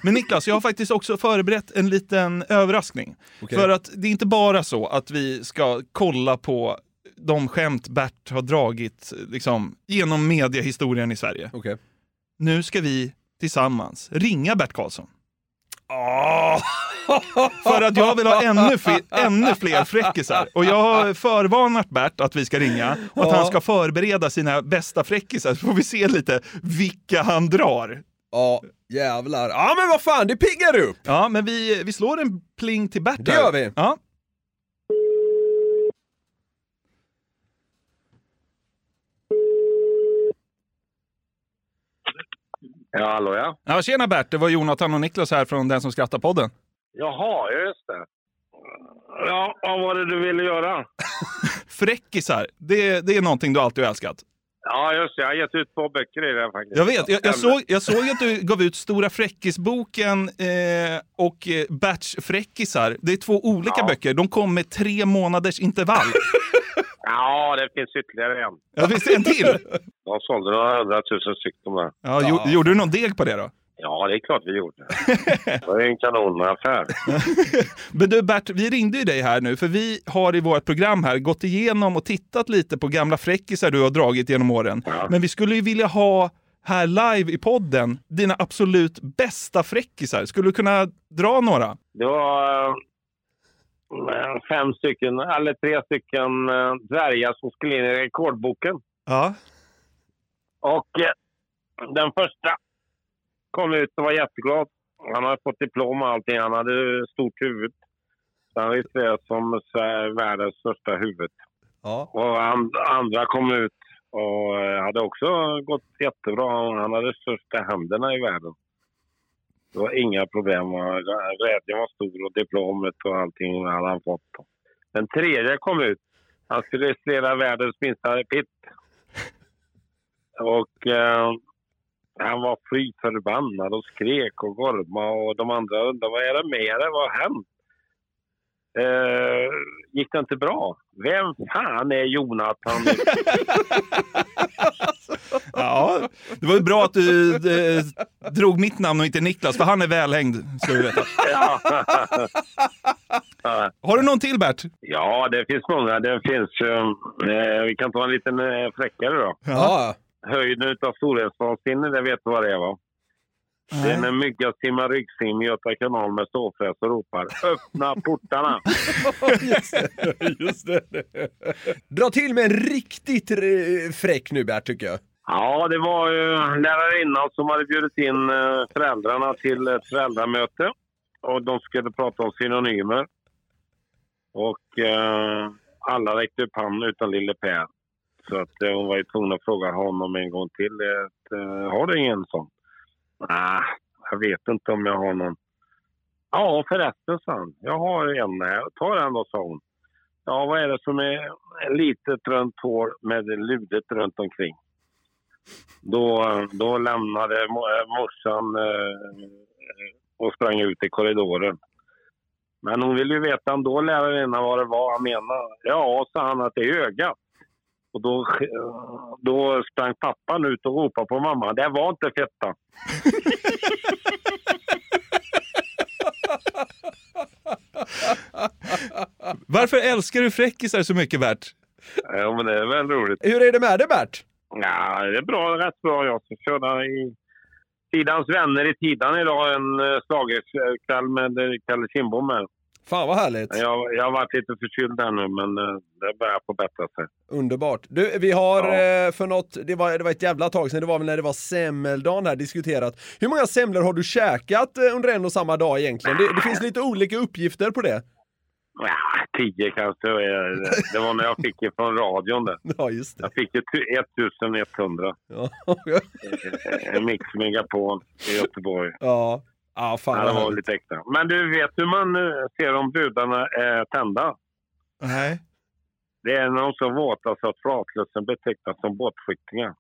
S5: Men Niklas, jag har faktiskt också förberett en liten överraskning.
S4: Okej.
S5: För att det är inte bara så att vi ska kolla på de skämt Bert har dragit liksom, genom mediahistorien i Sverige. Nu ska vi tillsammans ringa Bert Karlsson.
S4: Ah!
S5: För att jag vill ha ännu, fi- ännu fler fräckisar. Och jag har förvarnat Bert att vi ska ringa och att
S4: Ja.
S5: han ska förbereda sina bästa fräckisar så får vi se lite vilka han drar.
S4: Ja, jävlar. Ja, men vad fan, det piggar upp!
S5: Ja, men vi, vi slår en pling till Bert
S4: Det
S5: här.
S4: gör vi.
S5: Ja.
S21: Ja, hallå ja.
S5: ja. Tjena Bert, det var Jonathan och Niklas här från Den som skrattar-podden.
S21: Jaha, ja, just det. Ja, vad var det du ville göra?
S5: Fräckisar, det, det är någonting du alltid har älskat.
S21: Ja, just det. Jag har gett ut två böcker i det faktiskt.
S5: Jag vet, jag, jag, såg, jag såg att du gav ut Stora Fräckisboken eh, och eh, Berts Fräckisar. Det är två olika böcker. De kom med tre månaders intervall.
S21: Ja, det finns ytterligare en.
S5: Ja, finns det en till?
S21: Jag sålde några hundratusen stycken med.
S5: Ja, gjo- Gjorde du någon deg på det då?
S21: Ja, det är klart vi gjorde. Det var ju en kanonaffär.
S5: Men du Bert, vi ringde ju dig här nu för vi har i vårt program här gått igenom och tittat lite på gamla fräckisar du har dragit genom åren. Men vi skulle ju vilja ha här live i podden dina absolut bästa fräckisar. Skulle du kunna dra några?
S21: Det var eh, fem stycken, eller tre stycken eh, dvärgar som skulle in i rekordboken.
S5: Ja.
S21: Och eh, den första kom ut och var jätteglad. Han hade fått diplom och allting. Han hade stort huvud. Så han registrerades som Sver- världens största huvud. Och and, andra kom ut och eh, hade också gått jättebra. Han- Han hade största händerna i världen. Det var inga problem. Och Glädjen var stor och diplomet och allting hade han fått. Den tredje kom ut. Han skulle registrera världens minsta pitt. Och eh, han var fly förbannad och skrek och gormade och de andra undrade vad är det med dig? Vad har hänt? Eh, gick det inte bra? Vem fan är Jonathan?
S5: Ja, det var ju bra att du eh, drog mitt namn och inte Niklas, för han är välhängd, ska du veta. Har du någon till Bert?
S21: ja, det finns många. Det finns, eh, eh, vi kan ta en liten eh, fräckare då.
S4: Ja.
S21: Höjden utav Storhetsvansinne, det vet du vad det var? Det är när myggan simmar ryggsim i Göta kanal med ståfräs och ropar öppna portarna.
S4: just det, just det. Dra till med en riktigt eh, fräck nu Bert, tycker jag.
S21: Ja, det var ju lärarinnan som hade bjudit in eh, föräldrarna till ett föräldramöte. Och de skulle prata om synonymer. Och eh, alla räckte upp handen utan lille Per. Så att eh, hon var ju tvungen att fråga honom en gång till. eh, att, Eh, har du ingen sån? Nej, jag vet inte om jag har någon. Ja, förresten, sa han. Jag har en här. Ta den då, sa hon. Ja, vad är det som är litet runt hår med ludet runt omkring? Då, då lämnade mo- eh, morsan eh, och sprang ut i korridoren. Men hon ville ju veta ändå, lärarinnan, vad det var han menade. Ja, sa han, att det är ögat. Och då, sk- då sprang pappan ut och ropade på mamma. Det var inte fetta.
S5: Varför älskar du fräckisar så mycket, Bert?
S21: Ja, men det är väl roligt.
S4: Hur är det med dig Bert?
S21: Ja, det är bra, rätt bra. Jag ska köra i Tidans vänner i Tidan idag, en eh, schlagerkväll med eh, Kalle Kindbom här.
S4: Fan vad härligt.
S21: Jag, jag har varit lite förkyld här nu, men eh, det börjar förbättra sig.
S4: Underbart. Du, vi har eh, för något, det var, det var ett jävla tag sedan, det var väl när det var semmeldagen här diskuterat. Hur många semlor har du käkat eh, under en och samma dag egentligen? Det, det finns lite olika uppgifter på det.
S21: Ja, tio kanske. eh, Det var när jag fick ifrån radion det.
S4: Ja, just
S21: Jag fick ju tu- 1100.
S4: Ja.
S21: En Mix Megapol i Göteborg.
S4: Ja, ah, fan
S21: Ja, det
S4: vad
S21: var
S4: härligt.
S21: lite extra. Men du vet hur man eh, ser om brudarna är tända?
S5: Nej.
S21: Det är när de är så våta så att flatlössen betecknas som båtflyktingar.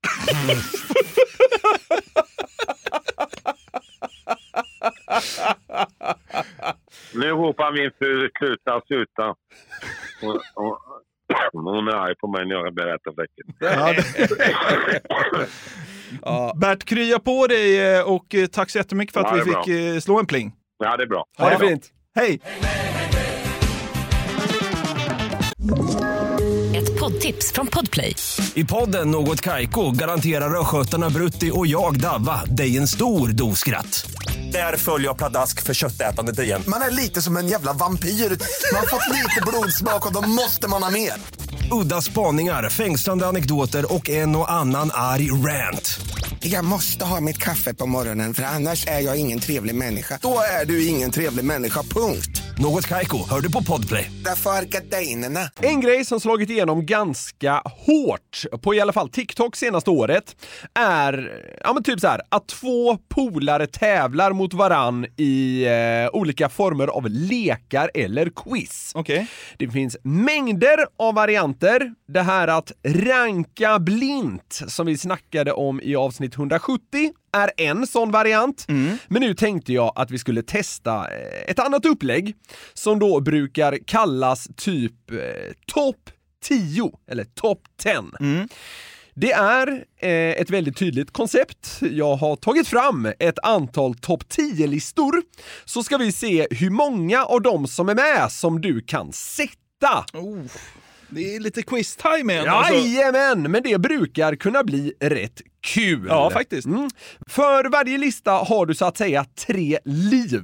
S21: nu ropar min fru sluta, sluta. Hon, hon, hon är arg på mig när jag berättar fläcken.
S5: Bert, krya på dig eh, och eh, tack så jättemycket för att
S21: Ja, det
S5: vi
S21: är bra.
S5: fick eh, slå en pling.
S21: ja, det är bra.
S5: Ha det fint. Hej!
S22: Ett poddtips från Podplay.
S10: I podden Något Kaiko garanterar östgötarna Brutti och jag, Davva, dig en stor dos skratt. Där följer jag pladask för köttätandet igen.
S23: Man är lite som en jävla vampyr. Man har fått lite blodsmak och då måste man ha mer.
S10: Udda spaningar, fängslande anekdoter och en och annan arg rant.
S23: Jag måste ha mitt kaffe på morgonen för annars är jag ingen trevlig människa. Då är du ingen trevlig människa, punkt.
S10: Något Kaiko, hör du på podplay.
S23: Därför är gardinerna.
S4: En grej som slagit igenom ganska hårt på i alla fall TikTok senaste året är, ja men typ så här, att två polare tävlar mot varann i eh, olika former av lekar eller quiz. Det finns mängder av varianter. Det här att ranka blint, som vi snackade om i avsnitt 170, är en sån variant. Men nu tänkte jag att vi skulle testa eh, ett annat upplägg som då brukar kallas typ eh, topp 10 eller topp 10. Det är eh, ett väldigt tydligt koncept. Jag har tagit fram ett antal topp 10-listor så ska vi se hur många av dem som är med som du kan sätta.
S5: Det är lite quiz-time igen. alltså.
S4: Jajamän, men det brukar kunna bli rätt kul.
S5: Ja, faktiskt.
S4: Mm. För varje lista har du så att säga tre liv.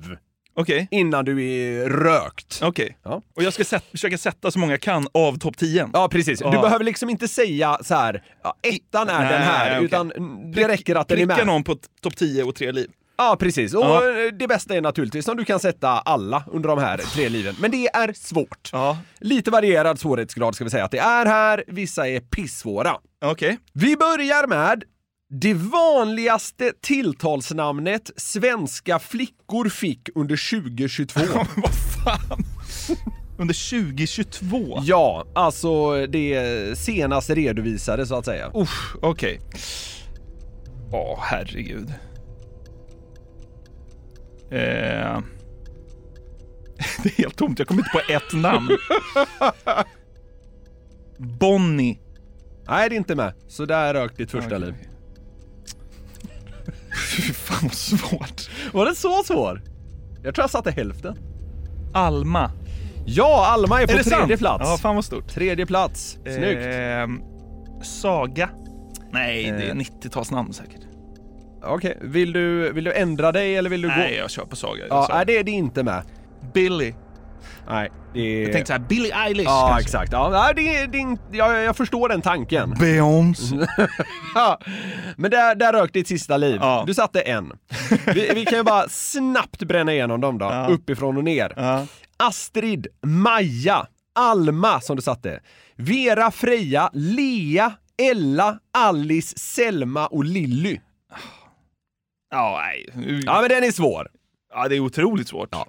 S4: Innan du är rökt.
S5: Okej. Och jag ska sätta, försöka sätta så många jag kan av topp 10.
S4: Ja, precis. Du behöver liksom inte säga så här, ja, ettan är
S5: Nej,
S4: den här,
S5: okej.
S4: utan det räcker att den är
S5: Pricka
S4: med.
S5: någon på t- topp 10 och tre liv.
S4: Ja, precis. Och
S5: Ja.
S4: eh, det bästa är naturligtvis om du kan sätta alla under de här tre liven. Men det är svårt. Lite varierad svårighetsgrad ska vi säga att det är här. Vissa är pissvåra.
S5: Okej.
S4: Vi börjar med det vanligaste tilltalsnamnet svenska flickor fick under 2022.
S5: Under 2022?
S4: Ja, alltså det senast redovisade så att säga.
S5: Usch, okej. Ja, herregud. Eh, det är helt tomt. Jag kommer inte på ett namn. Bonnie.
S4: Nej, det är inte med. Så där rök ditt första liv.
S5: Fy fan vad svårt.
S4: Var den så svår? Jag tror jag satte hälften.
S5: Alma.
S4: Ja, Alma är på
S5: Är det
S4: tredje
S5: sant?
S4: plats.
S5: Ja, fan vad stort.
S4: Tredje plats. Snyggt.
S5: Ehm, Saga. Nej, det är
S4: Eh.
S5: 90-talsnamn säkert.
S4: Okej, vill, du, vill du ändra dig eller vill du gå?
S5: Nej, jag kör på Saga.
S4: Ja,
S5: Jag sa-
S4: nej, det är det inte med.
S5: Billy.
S4: Nej, det är...
S5: Jag tänkte så här, Billie Eilish
S4: Ja,
S5: kanske.
S4: exakt. Ja, nej, det, är- det, är inte- jag, jag förstår den tanken.
S5: Beyoncé.
S4: Ja, Men där, där rök ditt sista liv. Du satte en. Vi, vi kan ju bara snabbt bränna igenom dem då, uppifrån och ner. Astrid, Maja, Alma som du satte, Vera, Freja, Lea, Ella, Alice, Selma och Lilly.
S5: Ja, nej.
S4: Ja, men den är svår.
S5: Ja, det är otroligt svårt.
S4: Ja.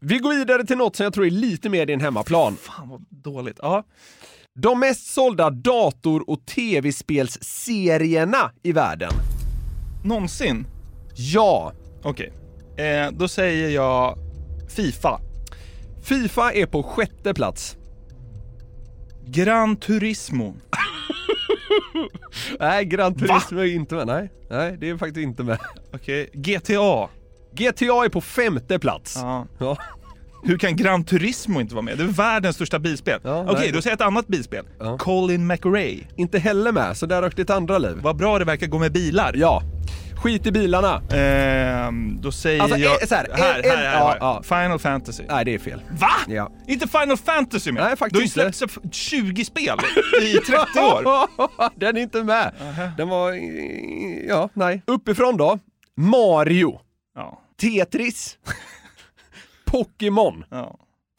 S4: Vi går vidare till något som jag tror är lite mer din hemmaplan.
S5: Fan vad dåligt. Ja.
S4: De mest sålda dator och tv-spelsserierna i världen.
S5: Någonsin?
S4: Ja.
S5: Okej. Eh, då säger jag Fifa.
S4: Fifa är på sjätte plats.
S5: Gran Turismo.
S4: nej, Gran Turismo är inte med. Nej, nej det är faktiskt inte med.
S5: Okej, GTA.
S4: GTA är på femte plats.
S5: Ja.
S4: Ja.
S5: Hur kan Gran Turismo inte vara med? Det är världens största bilspel. Okej,
S4: nej.
S5: då säger jag ett annat bilspel. Colin McRae.
S4: Inte heller med, så där rök ditt andra liv.
S5: Vad bra det verkar gå med bilar.
S4: Ja. Skit i bilarna.
S5: Ehm, då säger
S4: Alltså,
S5: jag...
S4: eh, så här, en-
S5: här,
S4: en-
S5: här, här, har
S4: ja,
S5: jag. Final Fantasy.
S4: Nej, det är fel.
S5: Va? Inte Final Fantasy med? Nej, faktiskt Du har ju släppts 20 spel i 30 år.
S4: Den är inte med. Den var... Ja, nej. Uppifrån då. Mario. Tetris. Pokémon.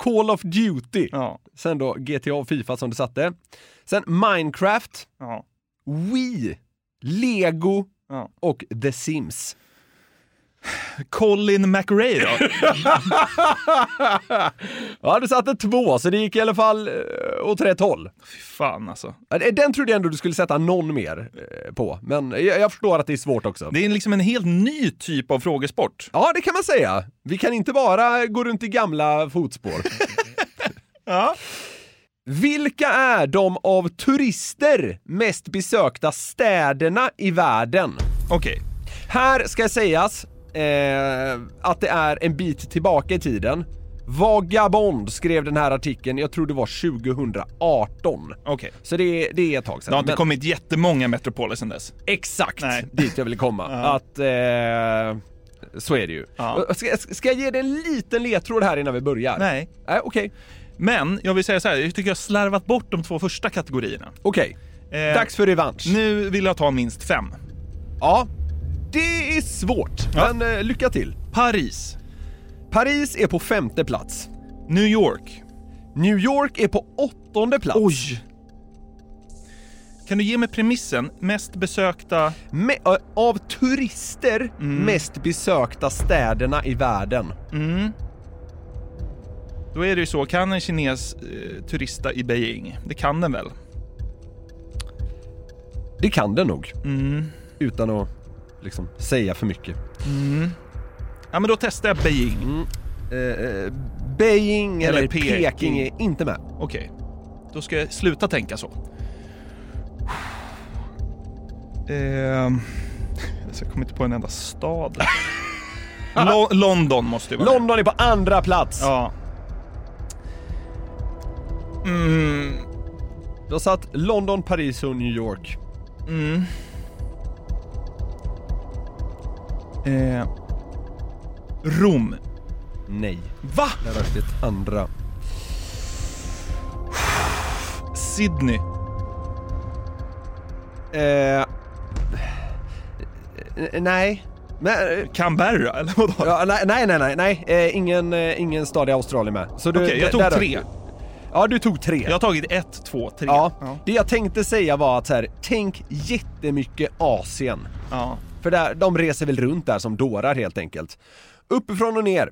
S4: Call of Duty. Sen då GTA och Fifa som du satte. Sen Minecraft. Wii. Lego. Och The Sims.
S5: Colin McRae då?
S4: ja, du satte två, så det gick i alla fall eh, åt rätt håll. Fy
S5: fan alltså.
S4: Den trodde jag ändå du skulle sätta någon mer eh, på, men jag, jag förstår att det är svårt också.
S5: Det är liksom en helt ny typ av frågesport.
S4: Ja, det kan man säga. Vi kan inte bara gå runt i gamla fotspår.
S5: ja.
S4: Vilka är de av turister mest besökta städerna i världen?
S5: Okej.
S4: Här ska sägas eh, att det är en bit tillbaka i tiden. Vagabond skrev den här artikeln, jag tror det var 2018.
S5: Okej.
S4: Så det, det är ett tag sedan.
S5: Det har inte
S4: Men-
S5: kommit jättemånga metropoler sedan dess.
S4: Exakt dit jag ville komma. Att, eh, så är det ju. Ska, ska jag ge dig en liten ledtråd här innan vi börjar?
S5: Nej.
S4: Nej, okej.
S5: Men jag vill säga så här, jag tycker jag har slarvat bort de två första kategorierna. Eh,
S4: Okej. Dags för revansch.
S5: Nu vill jag ta minst fem.
S4: Ja, det är svårt. Men eh, lycka till.
S5: Paris.
S4: Paris är på femte plats.
S5: New York.
S4: New York är på åttonde plats.
S5: Oj! Kan du ge mig premissen? Mest besökta...
S4: Me- ö, av turister mest besökta städerna i världen.
S5: Mm. Då är det ju så, kan en kines eh, turista i Beijing? Det kan den väl?
S4: Det kan den nog.
S5: Mm.
S4: Utan att liksom säga för mycket.
S5: Mm. Ja, men då testar jag Beijing.
S4: Mm. Eh, Beijing eller, Peking. är inte med.
S5: Okej, då ska jag sluta tänka så. Ehm, alltså jag kommer inte på en enda stad. Lo- London måste ju vara
S4: London är på andra plats.
S5: Ja. Mm.
S4: Du har satt London, Paris och New York.
S5: Mm. Eh, Rom.
S4: Nej.
S5: Va?
S4: Där rök ditt andra.
S5: Sydney.
S4: Eh, eh, nej. Men, eh,
S5: Canberra, eller vadå?
S4: Ja, nej, nej, nej, nej. nej. Eh, ingen, eh, ingen stad i Australien med. Så du-
S5: Okej, jag
S4: d-
S5: tog
S4: där rök
S5: tre.
S4: du. Ja, du tog tre.
S5: Jag har tagit ett, två, tre.
S4: Ja. Det jag tänkte säga var att så här, tänk jättemycket Asien. För där, de reser väl runt där som dårar helt enkelt. Uppifrån och ner.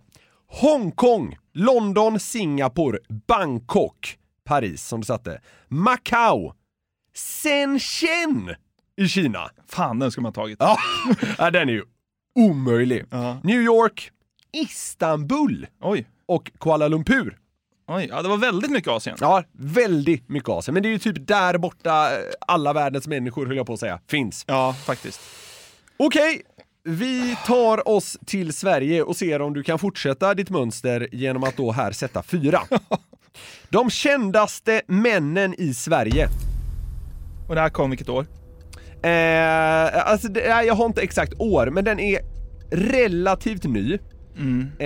S4: Hongkong, London, Singapore, Bangkok, Paris som du satte. Macau, Shenzhen i Kina.
S5: Fan, den skulle man ha tagit.
S4: Ja, ja, den är ju omöjlig. New York, Istanbul och Kuala Lumpur.
S5: Oj, ja det var väldigt mycket Asien.
S4: Ja, väldigt mycket Asien. Men det är ju typ där borta eh, alla världens människor, höll jag på att säga, finns.
S5: Ja, faktiskt.
S4: Okej, vi tar oss till Sverige och ser om du kan fortsätta ditt mönster genom att då här sätta fyra. De kändaste männen i Sverige.
S5: Och det här kom vilket år?
S4: Eh, alltså, det, nej, jag har inte exakt år, men den är relativt ny.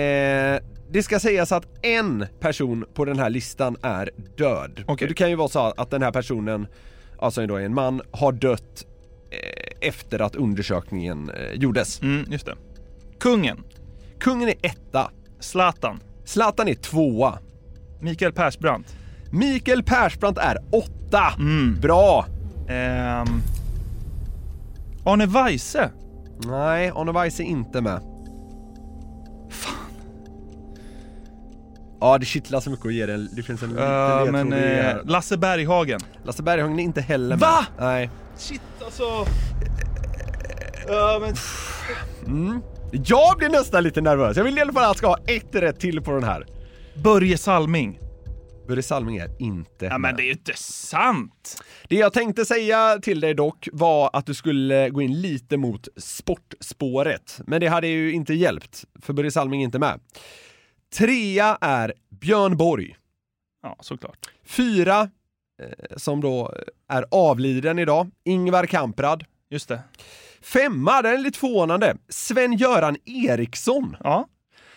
S4: Eh, det ska sägas att en person på den här listan är död. Och Det kan ju vara så att den här personen, alltså då är en man, har dött eh, efter att undersökningen eh, gjordes.
S5: Mm, just det. Kungen.
S4: Kungen är etta.
S5: Zlatan.
S4: Zlatan är tvåa.
S5: Mikael Persbrandt.
S4: Mikael Persbrandt är åtta.
S5: Mm.
S4: Bra!
S5: Ehm... Arne Weise.
S4: Nej, Arne Weise är inte med. Fan. Ja, det kittlar så mycket att ge den. Det finns en liten
S5: Eh,
S4: ledtråd
S5: men
S4: i det
S5: eh,
S4: här.
S5: Lasse Berghagen.
S4: Lasse Berghagen är inte heller med.
S5: Va?
S4: Nej.
S5: Shit alltså.
S4: Eh,
S5: Ja men...
S4: Mm. Jag blir nästan lite nervös. Jag vill i alla fall att han ska ha ett rätt till på den här.
S5: Börje Salming.
S4: Börje Salming är inte
S5: Ja, men det är ju inte sant!
S4: Det jag tänkte säga till dig dock var att du skulle gå in lite mot sportspåret. Men det hade ju inte hjälpt, för Börje Salming är inte med. Trea är Björn Borg.
S5: Ja, såklart.
S4: Fyra, eh, som då är avliden idag, Ingvar Kamprad.
S5: Just det.
S4: Femma, den är lite förvånande, Sven-Göran Eriksson.
S5: Ja.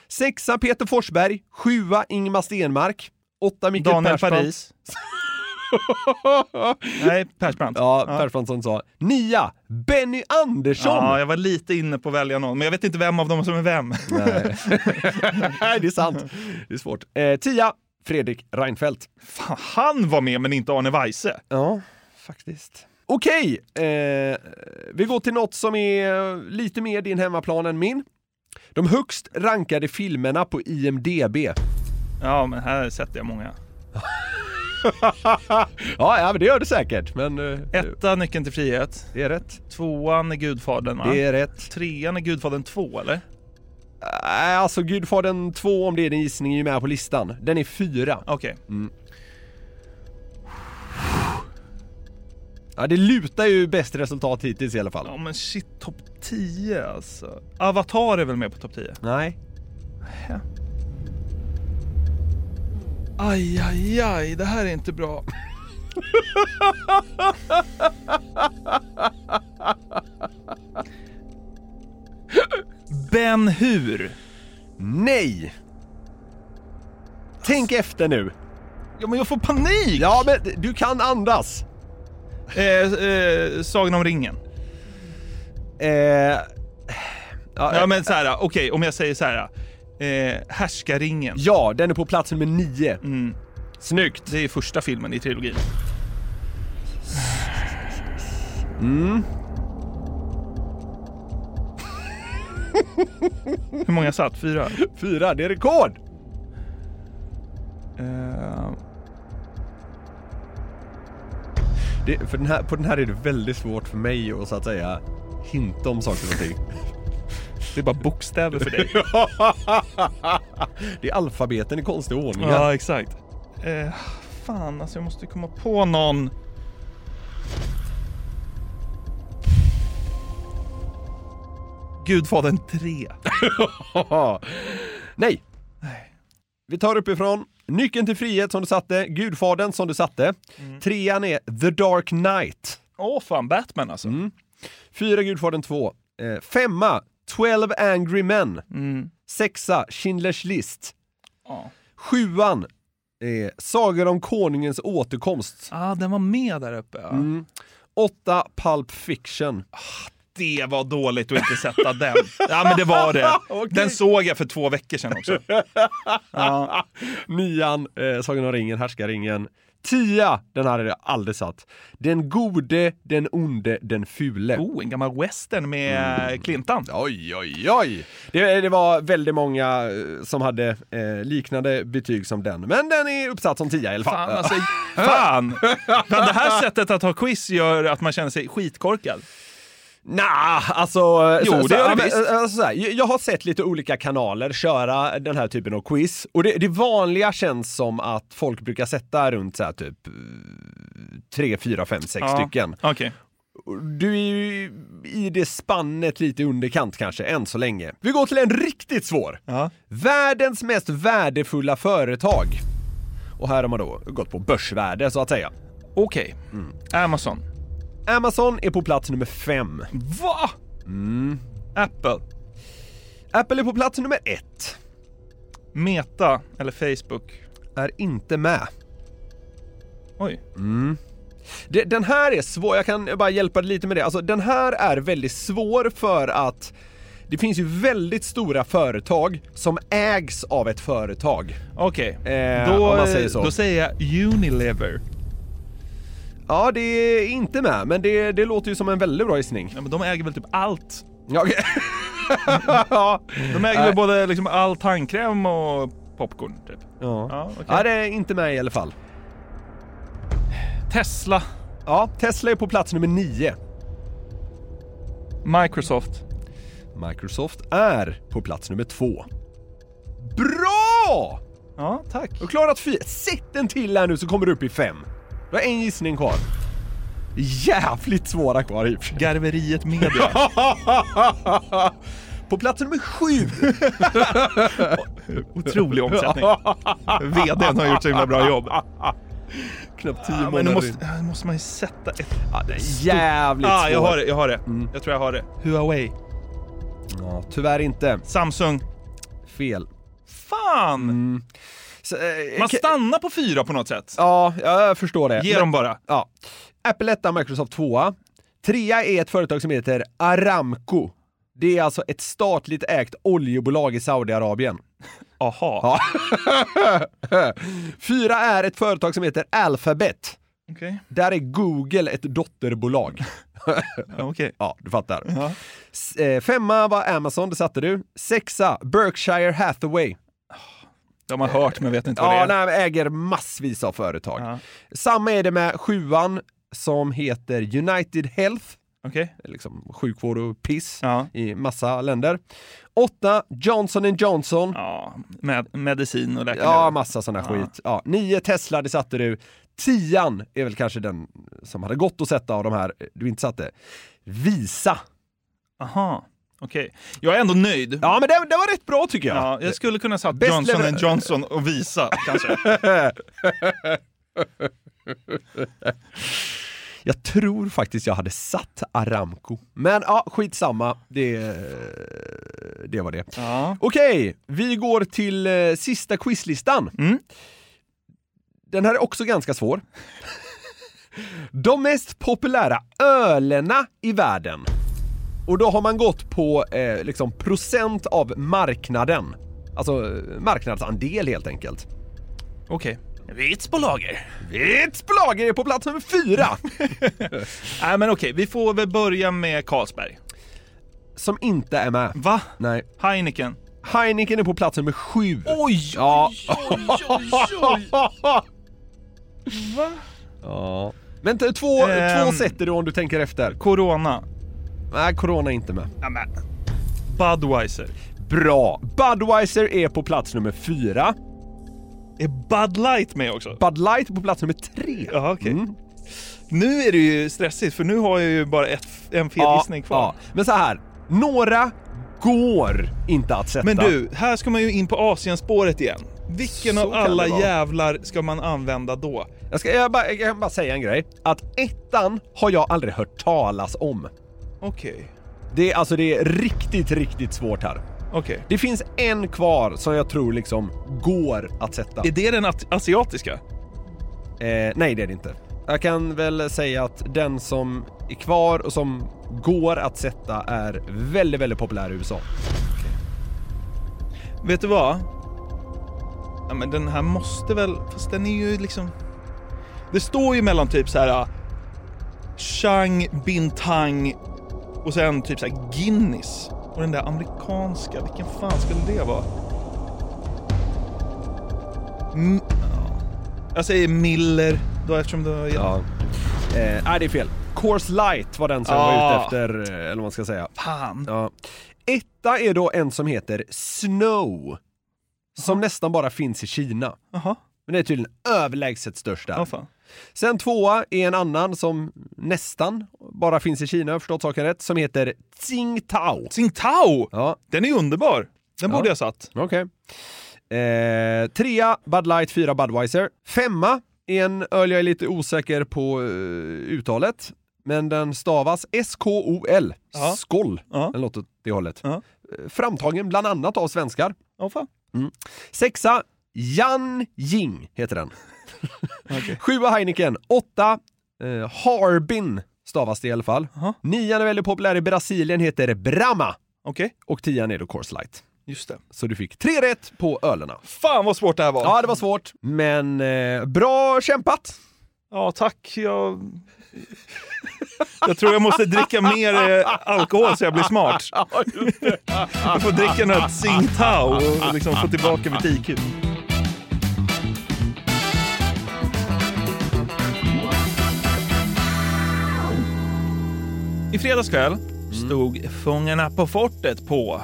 S4: Sexa, Peter Forsberg. Sjua, Ingmar Stenmark. Åtta, Mikael
S5: Daniel
S4: Persbrandt.
S5: Paris. Nej, Persbrandt.
S4: Ja, Persbrandt som sa. Nia, Benny Andersson.
S5: Ja, jag var lite inne på att välja någon, men jag vet inte vem av dem som är vem.
S4: Nej. Nej, det är sant. Det är svårt. Eh, tia, Fredrik Reinfeldt.
S5: Fan, han var med men inte Arne Weise.
S4: Ja, faktiskt. Okej, eh, vi går till något som är lite mer din hemmaplan än min. De högst rankade filmerna på IMDB.
S5: Ja, men här sätter jag många.
S4: ja, ja, men det gör du säkert. Men, eh,
S5: Etta, Nyckeln till frihet.
S4: Det är rätt.
S5: Tvåan är Gudfadern, va?
S4: Det är rätt.
S5: Trean är Gudfadern 2, eller?
S4: Nej, alltså Gudfadern 2 om det är din gissning är ju med på listan. Den är fyra.
S5: Okej.
S4: Mm. Ja, det lutar ju bäst resultat hittills i alla fall.
S5: Ja, men shit, topp 10 alltså. Avatar är väl med på topp 10?
S4: Nej.
S5: Aj, aj, aj, det här är inte bra. Ben Hur.
S4: Nej! Tänk efter nu.
S5: Ja, men jag får panik!
S4: Ja, men du kan andas.
S5: Eh, eh, Sagan om ringen.
S4: Eh, ja,
S5: ja, eh, men så här, okej, om jag säger så här. Eh, Härskarringen.
S4: Ja, den är på plats nummer nio.
S5: Mm.
S4: Snyggt!
S5: Det är första filmen i trilogin.
S4: Mm.
S5: Hur många satt? Fyra?
S4: Fyra, det är rekord!
S5: Eh,
S4: Det, för den här, på den här är det väldigt svårt för mig att så att säga hinta om saker och ting.
S5: det är bara bokstäver för dig.
S4: det är alfabeten i konstig ordning.
S5: ja, exakt. Eh, fan, alltså jag måste komma på någon. Gudfadern 3.
S4: Nej! Vi tar uppifrån. Nyckeln till frihet som du satte, Gudfadern som du satte.
S5: Mm.
S4: Trean är The Dark Knight.
S5: Åh fan, Batman alltså.
S4: Fyra Gudfadern 2. Eh, femma, 12 Angry Men. Sexa, Schindler's List.
S5: Mm. Ja.
S4: Sjuan, eh, Sagor om Konungens återkomst.
S5: Ah, den var med där uppe. Ja.
S4: Mm. Åtta, Pulp Fiction.
S5: Det var dåligt att inte sätta den. Ja, men det var det. Den såg jag för två veckor sedan också. Ja.
S4: Nian, eh, Sagan om ringen, Härskaringen. Tia, den här hade jag aldrig satt. Den gode, den onde, den fule.
S5: Oh, en gammal western med Clintan.
S4: Oj, oj, oj! Det, det var väldigt många eh, som hade eh, liknande betyg som den, men den är uppsatt som tia i alla fall.
S5: Fan, alltså, fan! Men det här sättet att ha quiz gör att man känner sig skitkorkad.
S4: Nah, alltså...
S5: Jo, det gör det
S4: ja, men,
S5: visst.
S4: alltså, så här, jag jag har sett lite olika kanaler köra den här typen av quiz och det, det vanliga känns som att folk brukar sätta runt så här typ 3, 4, 5, 6
S5: Ja.
S4: stycken.
S5: Okej.
S4: Och Du är ju i det spannet lite i underkant kanske, än så länge. Vi går till en riktigt svår.
S5: Ja.
S4: Världens mest värdefulla företag. Och här har man då gått på börsvärde så att säga.
S5: Okej. Amazon.
S4: Amazon är på plats nummer fem.
S5: Va?
S4: Mm.
S5: Apple.
S4: Apple är på plats nummer ett.
S5: Meta, eller Facebook.
S4: Är inte med.
S5: Oj.
S4: Mm. Det- Den här är svår, jag kan bara hjälpa dig lite med det. Alltså den här är väldigt svår för att det finns ju väldigt stora företag som ägs av ett företag.
S5: Okej.
S4: Eh,
S5: då,
S4: om man säger så.
S5: då säger jag Unilever.
S4: Ja, det är inte med, men det, det låter ju som en väldigt bra gissning.
S5: Ja, men de äger väl typ allt?
S4: Ja, okej. ja.
S5: De äger
S4: Nej.
S5: väl både liksom all tandkräm och popcorn, typ.
S4: Ja.
S5: Ja, okej.
S4: ja, det är inte med i alla fall.
S5: Tesla.
S4: Ja, Tesla är på plats nummer nio.
S5: Microsoft.
S4: Microsoft är på plats nummer två. Bra!
S5: Ja, tack.
S4: Du har klarat fyra. Sätt den till här nu så kommer du upp i fem. Du har en gissning kvar. Jävligt svåra kvar i och för sig.
S5: Garveriet Media.
S4: På plats nummer sju.
S5: Otrolig omsättning. VDn har gjort så himla bra jobb.
S4: Knappt tio
S5: men då
S4: månader in.
S5: måste, måste man ju sätta ett...
S4: Ja, det är
S5: stort-
S4: jävligt
S5: ah, Jag
S4: svårt.
S5: har det, jag har det. Jag tror jag har det. Huawei.
S4: Ja, tyvärr inte.
S5: Samsung.
S4: Fel. eh,
S5: Fan! man stannar på fyra på något sätt.
S4: Ja, jag förstår det.
S5: Ge
S4: Men-
S5: dem bara.
S4: Ja. Apple etta, Microsoft tvåa. Trea är ett företag som heter Aramco. Det är alltså ett statligt ägt oljebolag i Saudiarabien.
S5: Aha.
S4: Ja. Fyra är ett företag som heter Alphabet.
S5: Okej.
S4: Där är Google ett dotterbolag.
S5: Okej.
S4: Ja, du fattar. S- eh, Femma var Amazon, det satte du. Sexa, Berkshire Hathaway.
S5: Det har man hört men vet inte vad det
S4: Ja,
S5: är.
S4: nej, men äger massvis av företag. Samma är det med sjuan som heter United Health.
S5: Okej.
S4: Liksom sjukvård och piss i massa länder. Åtta, Johnson Johnson.
S5: Med, medicin och läkemedel.
S4: Ja, massa sån här skit. Ja, nio Tesla, det satte du. Tian är väl kanske den som hade gått att sätta av de här Eh, du inte satte. Visa.
S5: Aha. Okej. Jag är ändå nöjd.
S4: Ja, men det, det var rätt bra tycker jag.
S5: Ja, jag skulle kunna satt
S4: Bäst
S5: Johnson
S4: lever-
S5: Johnson och Visa kanske.
S4: Jag tror faktiskt jag hade satt Aramco. Men ja, skitsamma. Det, det var det. Okej, vi går till eh, sista quizlistan.
S5: Mm.
S4: Den här är också ganska svår. De mest populära ölerna i världen. Och då har man gått på eh, liksom procent av marknaden. Alltså eh, marknadsandel helt enkelt.
S5: Okej. Vits på lager.
S4: Vits på lager är på plats nummer fyra.
S5: Nej, men okej. Vi får väl börja med Carlsberg.
S4: Som inte är med.
S5: Va?
S4: Nej.
S5: Heineken.
S4: Heineken är på plats nummer sju.
S5: Oj,
S4: ja.
S5: Va?
S4: Ja. Men t- två,
S5: Ehm.
S4: två sätter du om du tänker efter.
S5: Corona.
S4: Nej, Corona är inte med.
S5: Nämen. Budweiser.
S4: Bra! Budweiser är på plats nummer fyra.
S5: Är Bud Light med också?
S4: Bud Light är på plats nummer tre. Mm.
S5: Ja, okej. Nu är det ju stressigt för nu har jag ju bara ett, en fel gissning kvar.
S4: ja. Men så här, några går inte att sätta.
S5: Men du, här ska man ju in på Asienspåret igen. Vilken
S4: Så
S5: av
S4: kan
S5: alla
S4: det vara.
S5: jävlar ska man använda då?
S4: Jag, ska, jag, bara, jag kan bara säga en grej. Att ettan har jag aldrig hört talas om.
S5: Okej.
S4: Det är, alltså, det är riktigt, riktigt svårt här.
S5: Okej.
S4: Det finns en kvar som jag tror liksom går att sätta.
S5: Är det den at- asiatiska?
S4: Eh, nej, det är det inte. Jag kan väl säga att den som är kvar och som går att sätta är väldigt, väldigt populär i USA.
S5: Vet du vad? Ja, men den här måste väl... Fast den är ju liksom... Det står ju mellan typ så här... ah, Chang, Bintang och sen typ så här Guinness. Och den där amerikanska, vilken fan skulle det vara? M- ja. jag säger Miller då eftersom du har gett...
S4: Ja. Eh, nej, det är fel. Course Light var den som jag var
S5: Ah.
S4: ute efter, eh, eller vad man ska säga.
S5: Fan.
S4: Ja. Etta är då en som heter Snow. Som nästan bara finns i Kina.
S5: Jaha.
S4: Men det är tydligen överlägset störst där.
S5: Ja, fan.
S4: Sen tvåa är en annan som nästan bara finns i Kina, har jag förstått saken rätt, som heter Tsingtao.
S5: Tsingtao!
S4: Ja.
S5: Den är underbar. Den
S4: Ja.
S5: borde jag satt.
S4: Okej. Eh, trea, Bud Light, fyra, Budweiser. Femma är en öl jag är lite osäker på eh, uttalet, men den stavas S-K-O-L.
S5: Ja.
S4: Skoll, eller något åt det hållet. Eh, Framtagen bland annat av svenskar.
S5: Ja, fan.
S4: Mm. Sexa, Jan Jing heter den. Sjua Heineken. Åtta, eh, Harbin stavas det i alla fall. Nian är väldigt populär i Brasilien, heter Brahma.
S5: Okej.
S4: Och tian är då Coors Light.
S5: Just det.
S4: Så du fick tre rätt på ölerna.
S5: Fan vad svårt det här var.
S4: Ja, det var svårt, men eh, bra kämpat!
S5: Ja, tack. Jag... jag tror jag måste dricka mer eh, alkohol så jag blir smart. Jag får dricka något Tsingtao och liksom få tillbaka mitt IQ. I fredags kväll
S4: Mm.
S5: stod Fångarna på fortet på,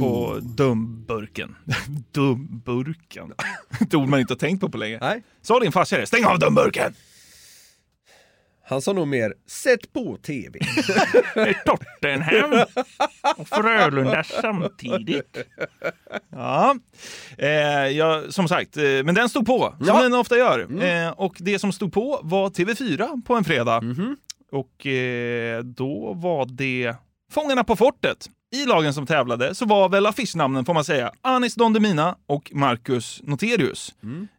S5: på dumburken. dumburken. Ett ord man inte har tänkt på på länge.
S4: Nej.
S5: Sa din farsa det? Stäng av dumburken!
S4: Han sa nog mer “Sätt på TV”.
S5: Tottenham och Frölunda samtidigt. Ja, eh, ja som sagt, eh, men den stod på, som
S7: Ja.
S5: den ofta gör.
S7: Mm.
S5: Eh, och det som stod på var TV4 på en fredag.
S4: Mhm.
S5: Och eh, då var det Fångarna på fortet. I lagen som tävlade så var väl affischnamnen, får man säga, Anis Don Demina och Marcus Noterius.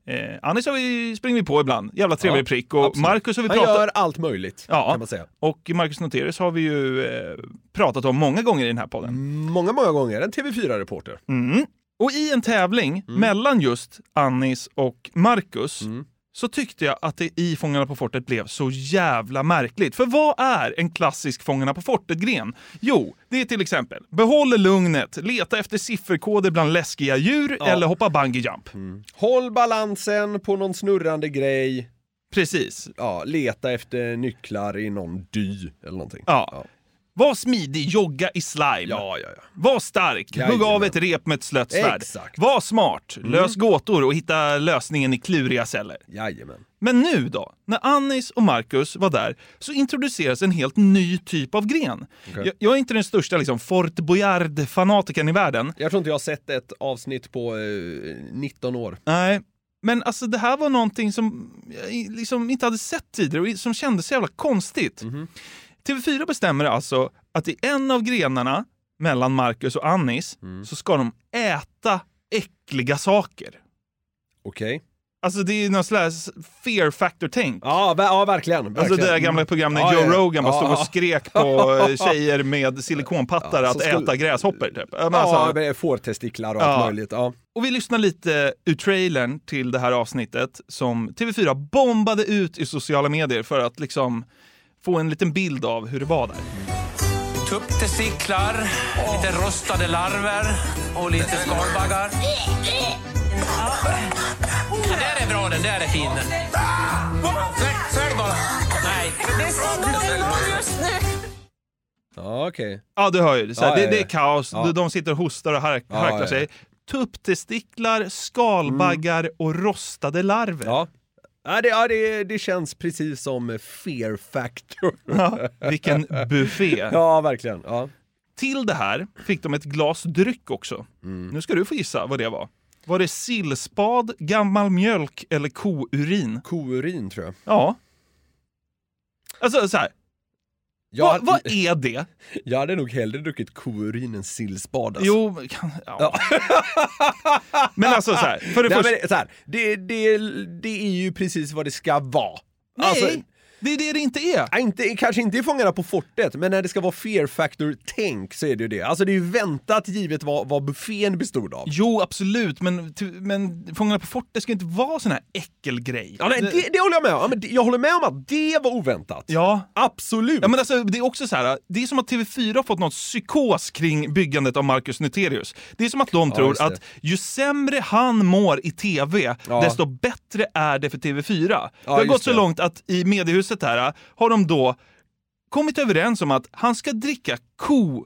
S5: Eh, Anis har vi, springer vi på ibland, jävla trevlig
S4: Mm. Ja,
S5: prick. Och
S4: absolut.
S5: Marcus har vi
S4: Han
S5: pratat...
S4: gör allt möjligt,
S5: ja.
S4: kan man säga.
S5: Och Marcus Noterius har vi ju eh, pratat om många gånger i den här
S4: Mm.
S5: podden.
S4: Många, många gånger. En TV4-reporter.
S5: Mm. Och i en tävling mellan just Annis och Marcus så tyckte jag att det i Fångarna på fortet blev så jävla märkligt. För vad är en klassisk Fångarna på fortet-gren? Jo, det är till exempel behåll lugnet, leta efter sifferkoder bland läskiga djur eller hoppa bungee jump.
S4: Håll balansen på någon snurrande grej.
S5: Precis.
S4: Ja, leta efter nycklar i någon dy eller någonting.
S5: Ja. Var smidig, jogga i slime. Var stark, hugg
S4: Jajamän.
S5: av ett rep med ett slött svärd.
S4: Exakt.
S5: Var smart,
S4: Mm.
S5: lös gåtor och hitta lösningen i kluriga celler. Men nu då, när Annis och Marcus var där så introduceras en helt ny typ av gren.
S4: Okej.
S5: Jag, jag är inte den största liksom, Fort Boyard-fanatikern i världen.
S4: Jag tror inte jag har sett ett avsnitt på eh, 19 år.
S5: Nej, men alltså det här var någonting som jag i- liksom inte hade sett tidigare och som kändes så jävla konstigt.
S4: Mhm.
S5: TV4 bestämmer alltså att i en av grenarna mellan Marcus och Annis
S4: Mm.
S5: så ska de äta äckliga saker.
S4: Okej.
S5: Alltså det är ju någon slags fear factor-tänk.
S4: Ja, ver- ja verkligen,
S5: Alltså
S4: verkligen. Mm.
S5: det där gamla programmet när
S4: Ja,
S5: Joe
S4: ja, ja.
S5: Rogan bara stod
S4: Ja,
S5: och
S4: ja.
S5: skrek på eh, tjejer med silikonpattar
S4: Ja,
S5: att
S4: så skulle-
S5: äta gräshoppor typ. Ja, men
S4: Ja,
S5: alltså-
S4: men fårtestiklar och allt
S5: Ja.
S4: möjligt. Ja.
S5: Och vi lyssnar lite ur trailern till det här avsnittet som TV4 bombade ut i sociala medier för att liksom få en liten bild av hur det var där.
S24: Tupptestiklar, lite rostade larver och lite skalbaggar. Den där är bra, den där är fin. Svälj, svälj bara. Nej. Det simmar någon just nu.
S4: Ja, okej.
S5: Ja, du hör ju. Så här,
S4: Ja,
S5: det,
S4: ja, ja.
S5: det är kaos.
S4: Ja.
S5: De- De sitter och hostar och hark-
S4: Ja,
S5: harklar
S4: ja, ja.
S5: sig. Tupptestiklar, skalbaggar och rostade larver.
S4: Mm. Ja. Ja, det, ja det, det känns precis som fear factor.
S5: Ja, vilken buffé.
S4: Ja, verkligen. Ja.
S5: Till det här fick de ett glas dryck också.
S4: Mm.
S5: Nu ska du få gissa vad det var. Var det sillspad, gammal mjölk eller kourin?
S4: Kourin tror jag.
S5: Ja. Alltså så här.
S4: Jag,
S5: Vad- vad är det?
S4: Jag hade nog hellre druckit kourin än sillspad. Alltså.
S5: Jo, men kan- ja. Men alltså så här, för det
S4: Nej,
S5: första-
S4: men, så här det, det, det är ju precis vad det ska vara. Alltså, äh,
S5: Nej, det är det det inte är.
S4: inte, kanske inte i Fångarna på fortet, men när det ska vara fear factor-tänk så är det ju det. Alltså det är ju väntat givet vad, vad buffén bestod av.
S5: Jo, absolut, men, ty- men Fångarna på fortet ska inte vara sån här äckelgrej.
S4: Ja, nej, det, det håller jag med om. Ja, men det- jag håller med om att det var oväntat.
S5: Ja.
S4: Absolut.
S5: Ja, men alltså, det är också så här, det är som att TV4 har fått något psykos kring byggandet av Marcus Nuterius. Det är som att de
S4: Ja,
S5: tror
S4: just det.
S5: att ju sämre han mår i TV, desto bättre är det för TV4. det har
S4: just
S5: gått så
S4: det.
S5: långt att i mediehuset här har de då kommit överens om att han ska dricka kopiss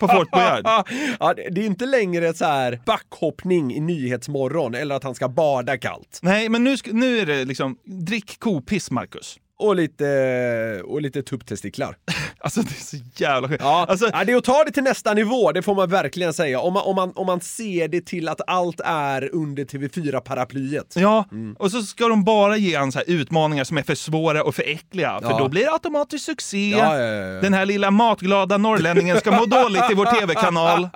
S5: på Fort Boyard.
S4: ja, det, det är inte längre så här backhoppning i Nyhetsmorgon eller att han ska bada kallt.
S5: Nej, men nu, sk- nu är det liksom, drick kopiss Marcus.
S4: Och lite, och lite tupptestiklar.
S5: Alltså det är så jävla Alltså, skönt.
S4: Ja, ja, det är att ta det till nästa nivå, det får man verkligen säga. Om man, om man, om man ser det till att allt är under TV4-paraplyet.
S5: Ja,
S4: Mm.
S5: och så ska de bara ge han så här utmaningar som är för svåra och för äckliga, för
S4: Ja.
S5: då blir det automatiskt succé.
S4: Ja, ja, ja, ja.
S5: Den här lilla matglada norrlänningen ska må dåligt i vår tv-kanal.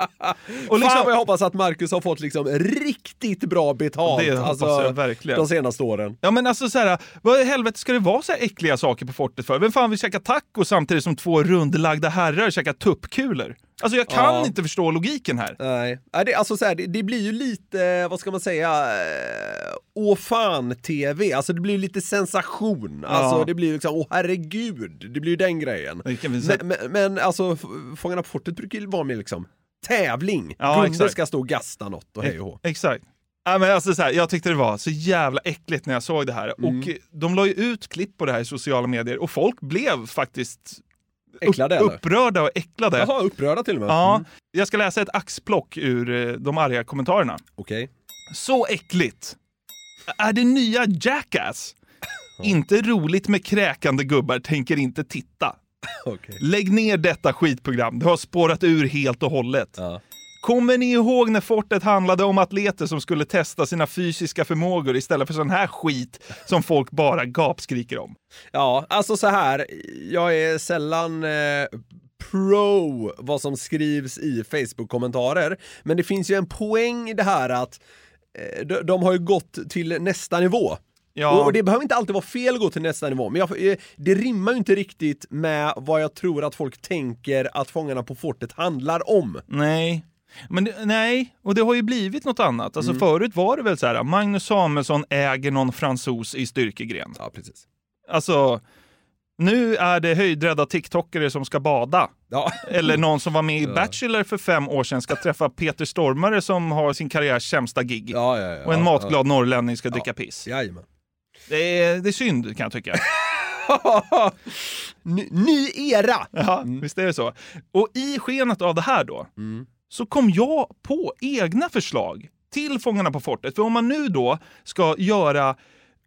S4: Och
S5: liksom-
S4: Fan vad jag hoppas att Marcus har fått liksom riktigt bra betalt alltså,
S5: Det hoppas jag verkligen.
S4: de senaste åren.
S5: Ja men alltså så här, vad i helvete ska det vara så här äckliga saker på fortet för? Vem fan vill käka tacos samtidigt som två rundlagda herrar käkar tuppkulor? Alltså jag kan
S4: Ja. Eh,
S5: inte förstå logiken här.
S4: Nej, Nej, det, alltså så här, det, det blir ju lite, vad ska man säga, eh, åh fan-tv. Alltså det blir ju lite sensation. Alltså
S5: Ja.
S4: det blir ju liksom, åh herregud, det blir ju den grejen.
S5: kan vi säga.
S4: Men, men, men alltså, F- Fångarna på fortet brukar ju vara med liksom tävling.
S5: Ja,
S4: Gunde
S5: exakt.
S4: ska stå och gasta något och hej och hå.
S5: Exakt. Ja, men alltså så här, jag tyckte det var så jävla äckligt när jag såg det här.
S4: Mm.
S5: Och eh, de la ju ut klipp på det här i sociala medier och folk blev faktiskt
S4: Äcklade, eller?
S5: upprörda och äcklade.
S4: Jaha, upprörda till och med.
S5: Ja,
S4: Mm.
S5: jag ska läsa ett axplock ur eh, de arga kommentarerna.
S4: Okej.
S5: Så äckligt! Är det nya Jackass? Inte roligt med kräkande gubbar, tänker inte titta. Lägg ner detta skitprogram, det har spårat ur helt och hållet. Kommer ni ihåg när fortet handlade om atleter som skulle testa sina fysiska förmågor istället för sån här skit som folk bara gapskriker om?
S4: Ja, alltså så här. Jag är sällan eh, pro vad som skrivs i Facebook-kommentarer. Men det finns ju en poäng i det här att eh, de, de har ju gått till nästa nivå.
S5: Ja.
S4: Och, och det behöver inte alltid vara fel att gå till nästa nivå, men jag, eh, det rimmar ju inte riktigt med vad jag tror att folk tänker att Fångarna på fortet handlar om.
S5: Nej. Men det, nej, och det har ju blivit något annat.
S4: Mm.
S5: Alltså förut var det väl så här, Magnus Samuelsson äger någon fransos i styrkegren.
S4: Ja, precis.
S5: Alltså, nu är det höjdrädda tiktokare som ska bada. Eller någon som var med i Bachelor för fem år sedan ska träffa Peter Stormare som har sin karriärs sämsta gig. och en
S4: ja,
S5: matglad
S4: ja.
S5: norrlänning ska dricka piss.
S4: Jajamän.
S5: Det är, det är synd kan jag tycka.
S4: ny, era!
S5: Ja, visst är det så. Och i skenet av det här då,
S4: Mm.
S5: så kom jag på egna förslag till Fångarna på fortet. För om man nu då ska göra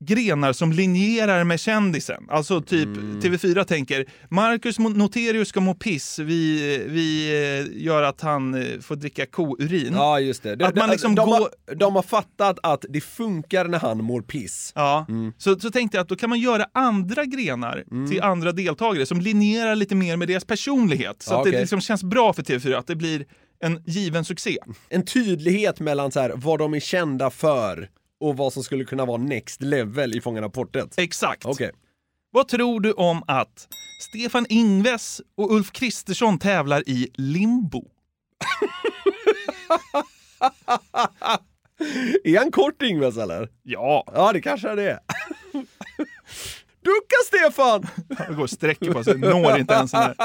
S5: grenar som linjerar med kändisen. Alltså typ
S4: Mm.
S5: TV4 tänker Marcus Mo- Noterius ska må piss, vi, vi eh, gör att han eh, får dricka kourin.
S4: Ja, just det.
S5: Mm. Att man liksom
S4: de,
S5: går...
S4: har, de har fattat att det funkar när han mår piss.
S5: Ja,
S4: Mm.
S5: så, så tänkte jag att då kan man göra andra grenar till andra deltagare som linjerar lite mer med deras personlighet. Så
S4: Ja,
S5: att det
S4: okej.
S5: liksom känns bra för TV4, att det blir en given succé.
S4: En tydlighet mellan så här, vad de är kända för och vad som skulle kunna vara next level i Fångarna på fortet.
S5: Exakt.
S4: Okej.
S5: Vad tror du om att Stefan Ingves och Ulf Kristersson tävlar i limbo?
S4: Är han kort Ingves eller?
S5: Ja.
S4: Ja, det kanske han är. Ducka Stefan!
S5: Han går och sträcker på sig, når inte ens den här.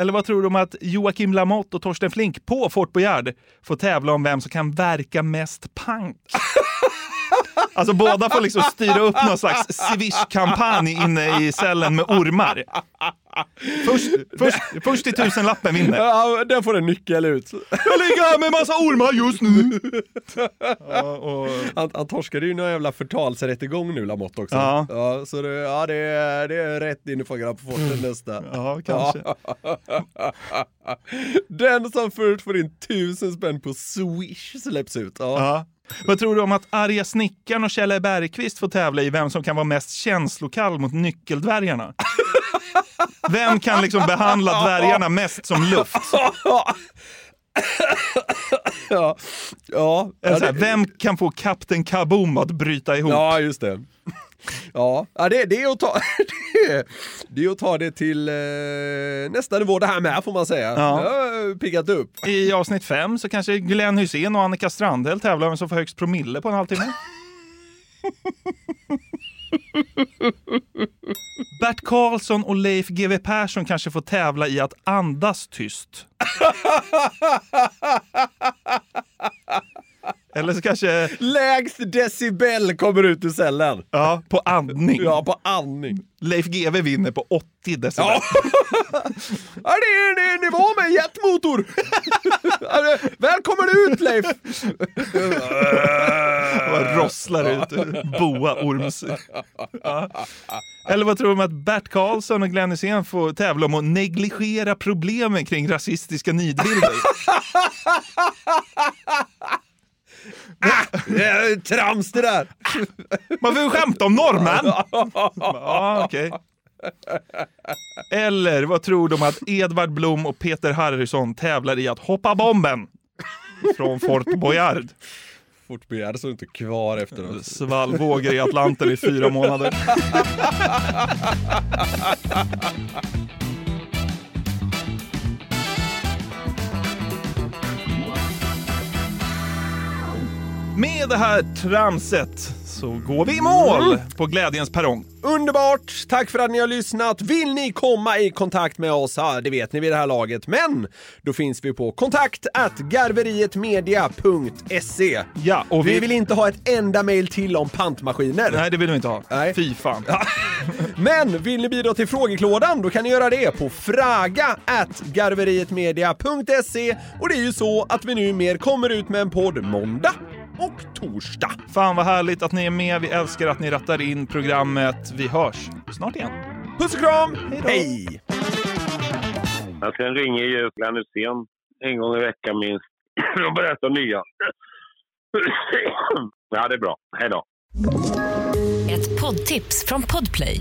S5: Eller vad tror du om att Joakim Lamotte och Torsten Flink på Fort Boyard får tävla om vem som kan verka mest punk? Alltså båda får liksom styra upp någon slags swish-kampanj inne i cellen med ormar. Först, först, först i tusenlappen vinner.
S4: Ja, där får en nyckel ut.
S5: Jag ligger här med massa ormar just nu. Ja, och...
S4: han, han torskade ju någon jävla förtalsrättegång nu Lamotte också.
S5: Ja.
S4: så det, ja, det, är- det är rätt in i Fångarna på fortet nästa.
S5: Mm. Ja, kanske.
S4: Den som först får in tusen spänn på Swish släpps ut. Ja.
S5: Ja. Vad tror du om att arga snickaren och Kjell Bergqvist får tävla i vem som kan vara mest känslokall mot nyckeldvärgarna? Vem kan liksom behandla dvärgarna mest som luft?
S4: Ja. Ja.
S5: Eller så här,
S4: Ja, det-
S5: vem kan få Kapten Kaboom att bryta ihop?
S4: Ja, just det. Ja, ja det, det, är att ta, det, är, det är att ta det till eh, nästa nivå det här med får man säga.
S5: Ja.
S4: Det har piggat upp.
S5: I avsnitt fem så kanske Glenn Hussein och Annika Strandhäll tävlar om vem som får högst promille på en halvtimme. Bert Karlsson och Leif GW Persson kanske får tävla i att andas tyst. Eller så kanske...
S4: Lägst decibel kommer ut ur cellen.
S5: Ja, på andning.
S4: Ja, på andning.
S5: Leif GW vinner på 80 decibel.
S4: Ja, det är, det är nivå med jetmotor! Ja, det- Välkommen ut Leif!
S5: Bara rosslar ut ur boaorms... Ja. Eller vad tror du om att Bert Karlsson och Glenn Hysén får tävla om att negligera problemen kring rasistiska nidbilder?
S4: Det är trams det där!
S5: Man får ju skämta om norrmän! Ja, okej. Eller vad tror du om att Edvard Blom och Peter Harrison tävlar i att hoppa bomben? Från Fort Boyard.
S4: Fort begär så inte kvar efteråt.
S5: Svallvågor i Atlanten i fyra månader. Med det här tramset så går vi i mål
S4: Mm.
S5: på glädjens perrong.
S4: Underbart! Tack för att ni har lyssnat. Vill ni komma i kontakt med oss? Ja, det vet ni vid det här laget, men då finns vi på kontakt garverietmedia.se.
S5: Ja, och
S4: vi...
S5: vi-
S4: vill inte ha ett enda mejl till om pantmaskiner.
S5: Nej, det vill vi inte ha.
S4: Nej.
S5: Fy fan.
S4: Men vill ni bidra till frågeklådan då kan ni göra det på fraga at garverietmedia.se och det är ju så att vi nu mer kommer ut med en podd måndag. och torsdag.
S5: Fan vad härligt att ni är med. Vi älskar att ni rattar in programmet. Vi hörs snart igen.
S4: Puss och kram!
S5: Hej!
S21: Men sen ringer ju Glenn Hysén en gång i veckan minst och berättar nya. ja, det är bra. Hej då.
S22: Ett poddtips från Podplay.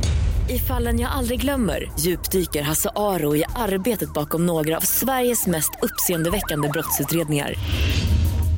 S22: I fallen jag aldrig glömmer djupdyker Hasse Aro i arbetet bakom några av Sveriges mest uppseendeväckande brottsutredningar.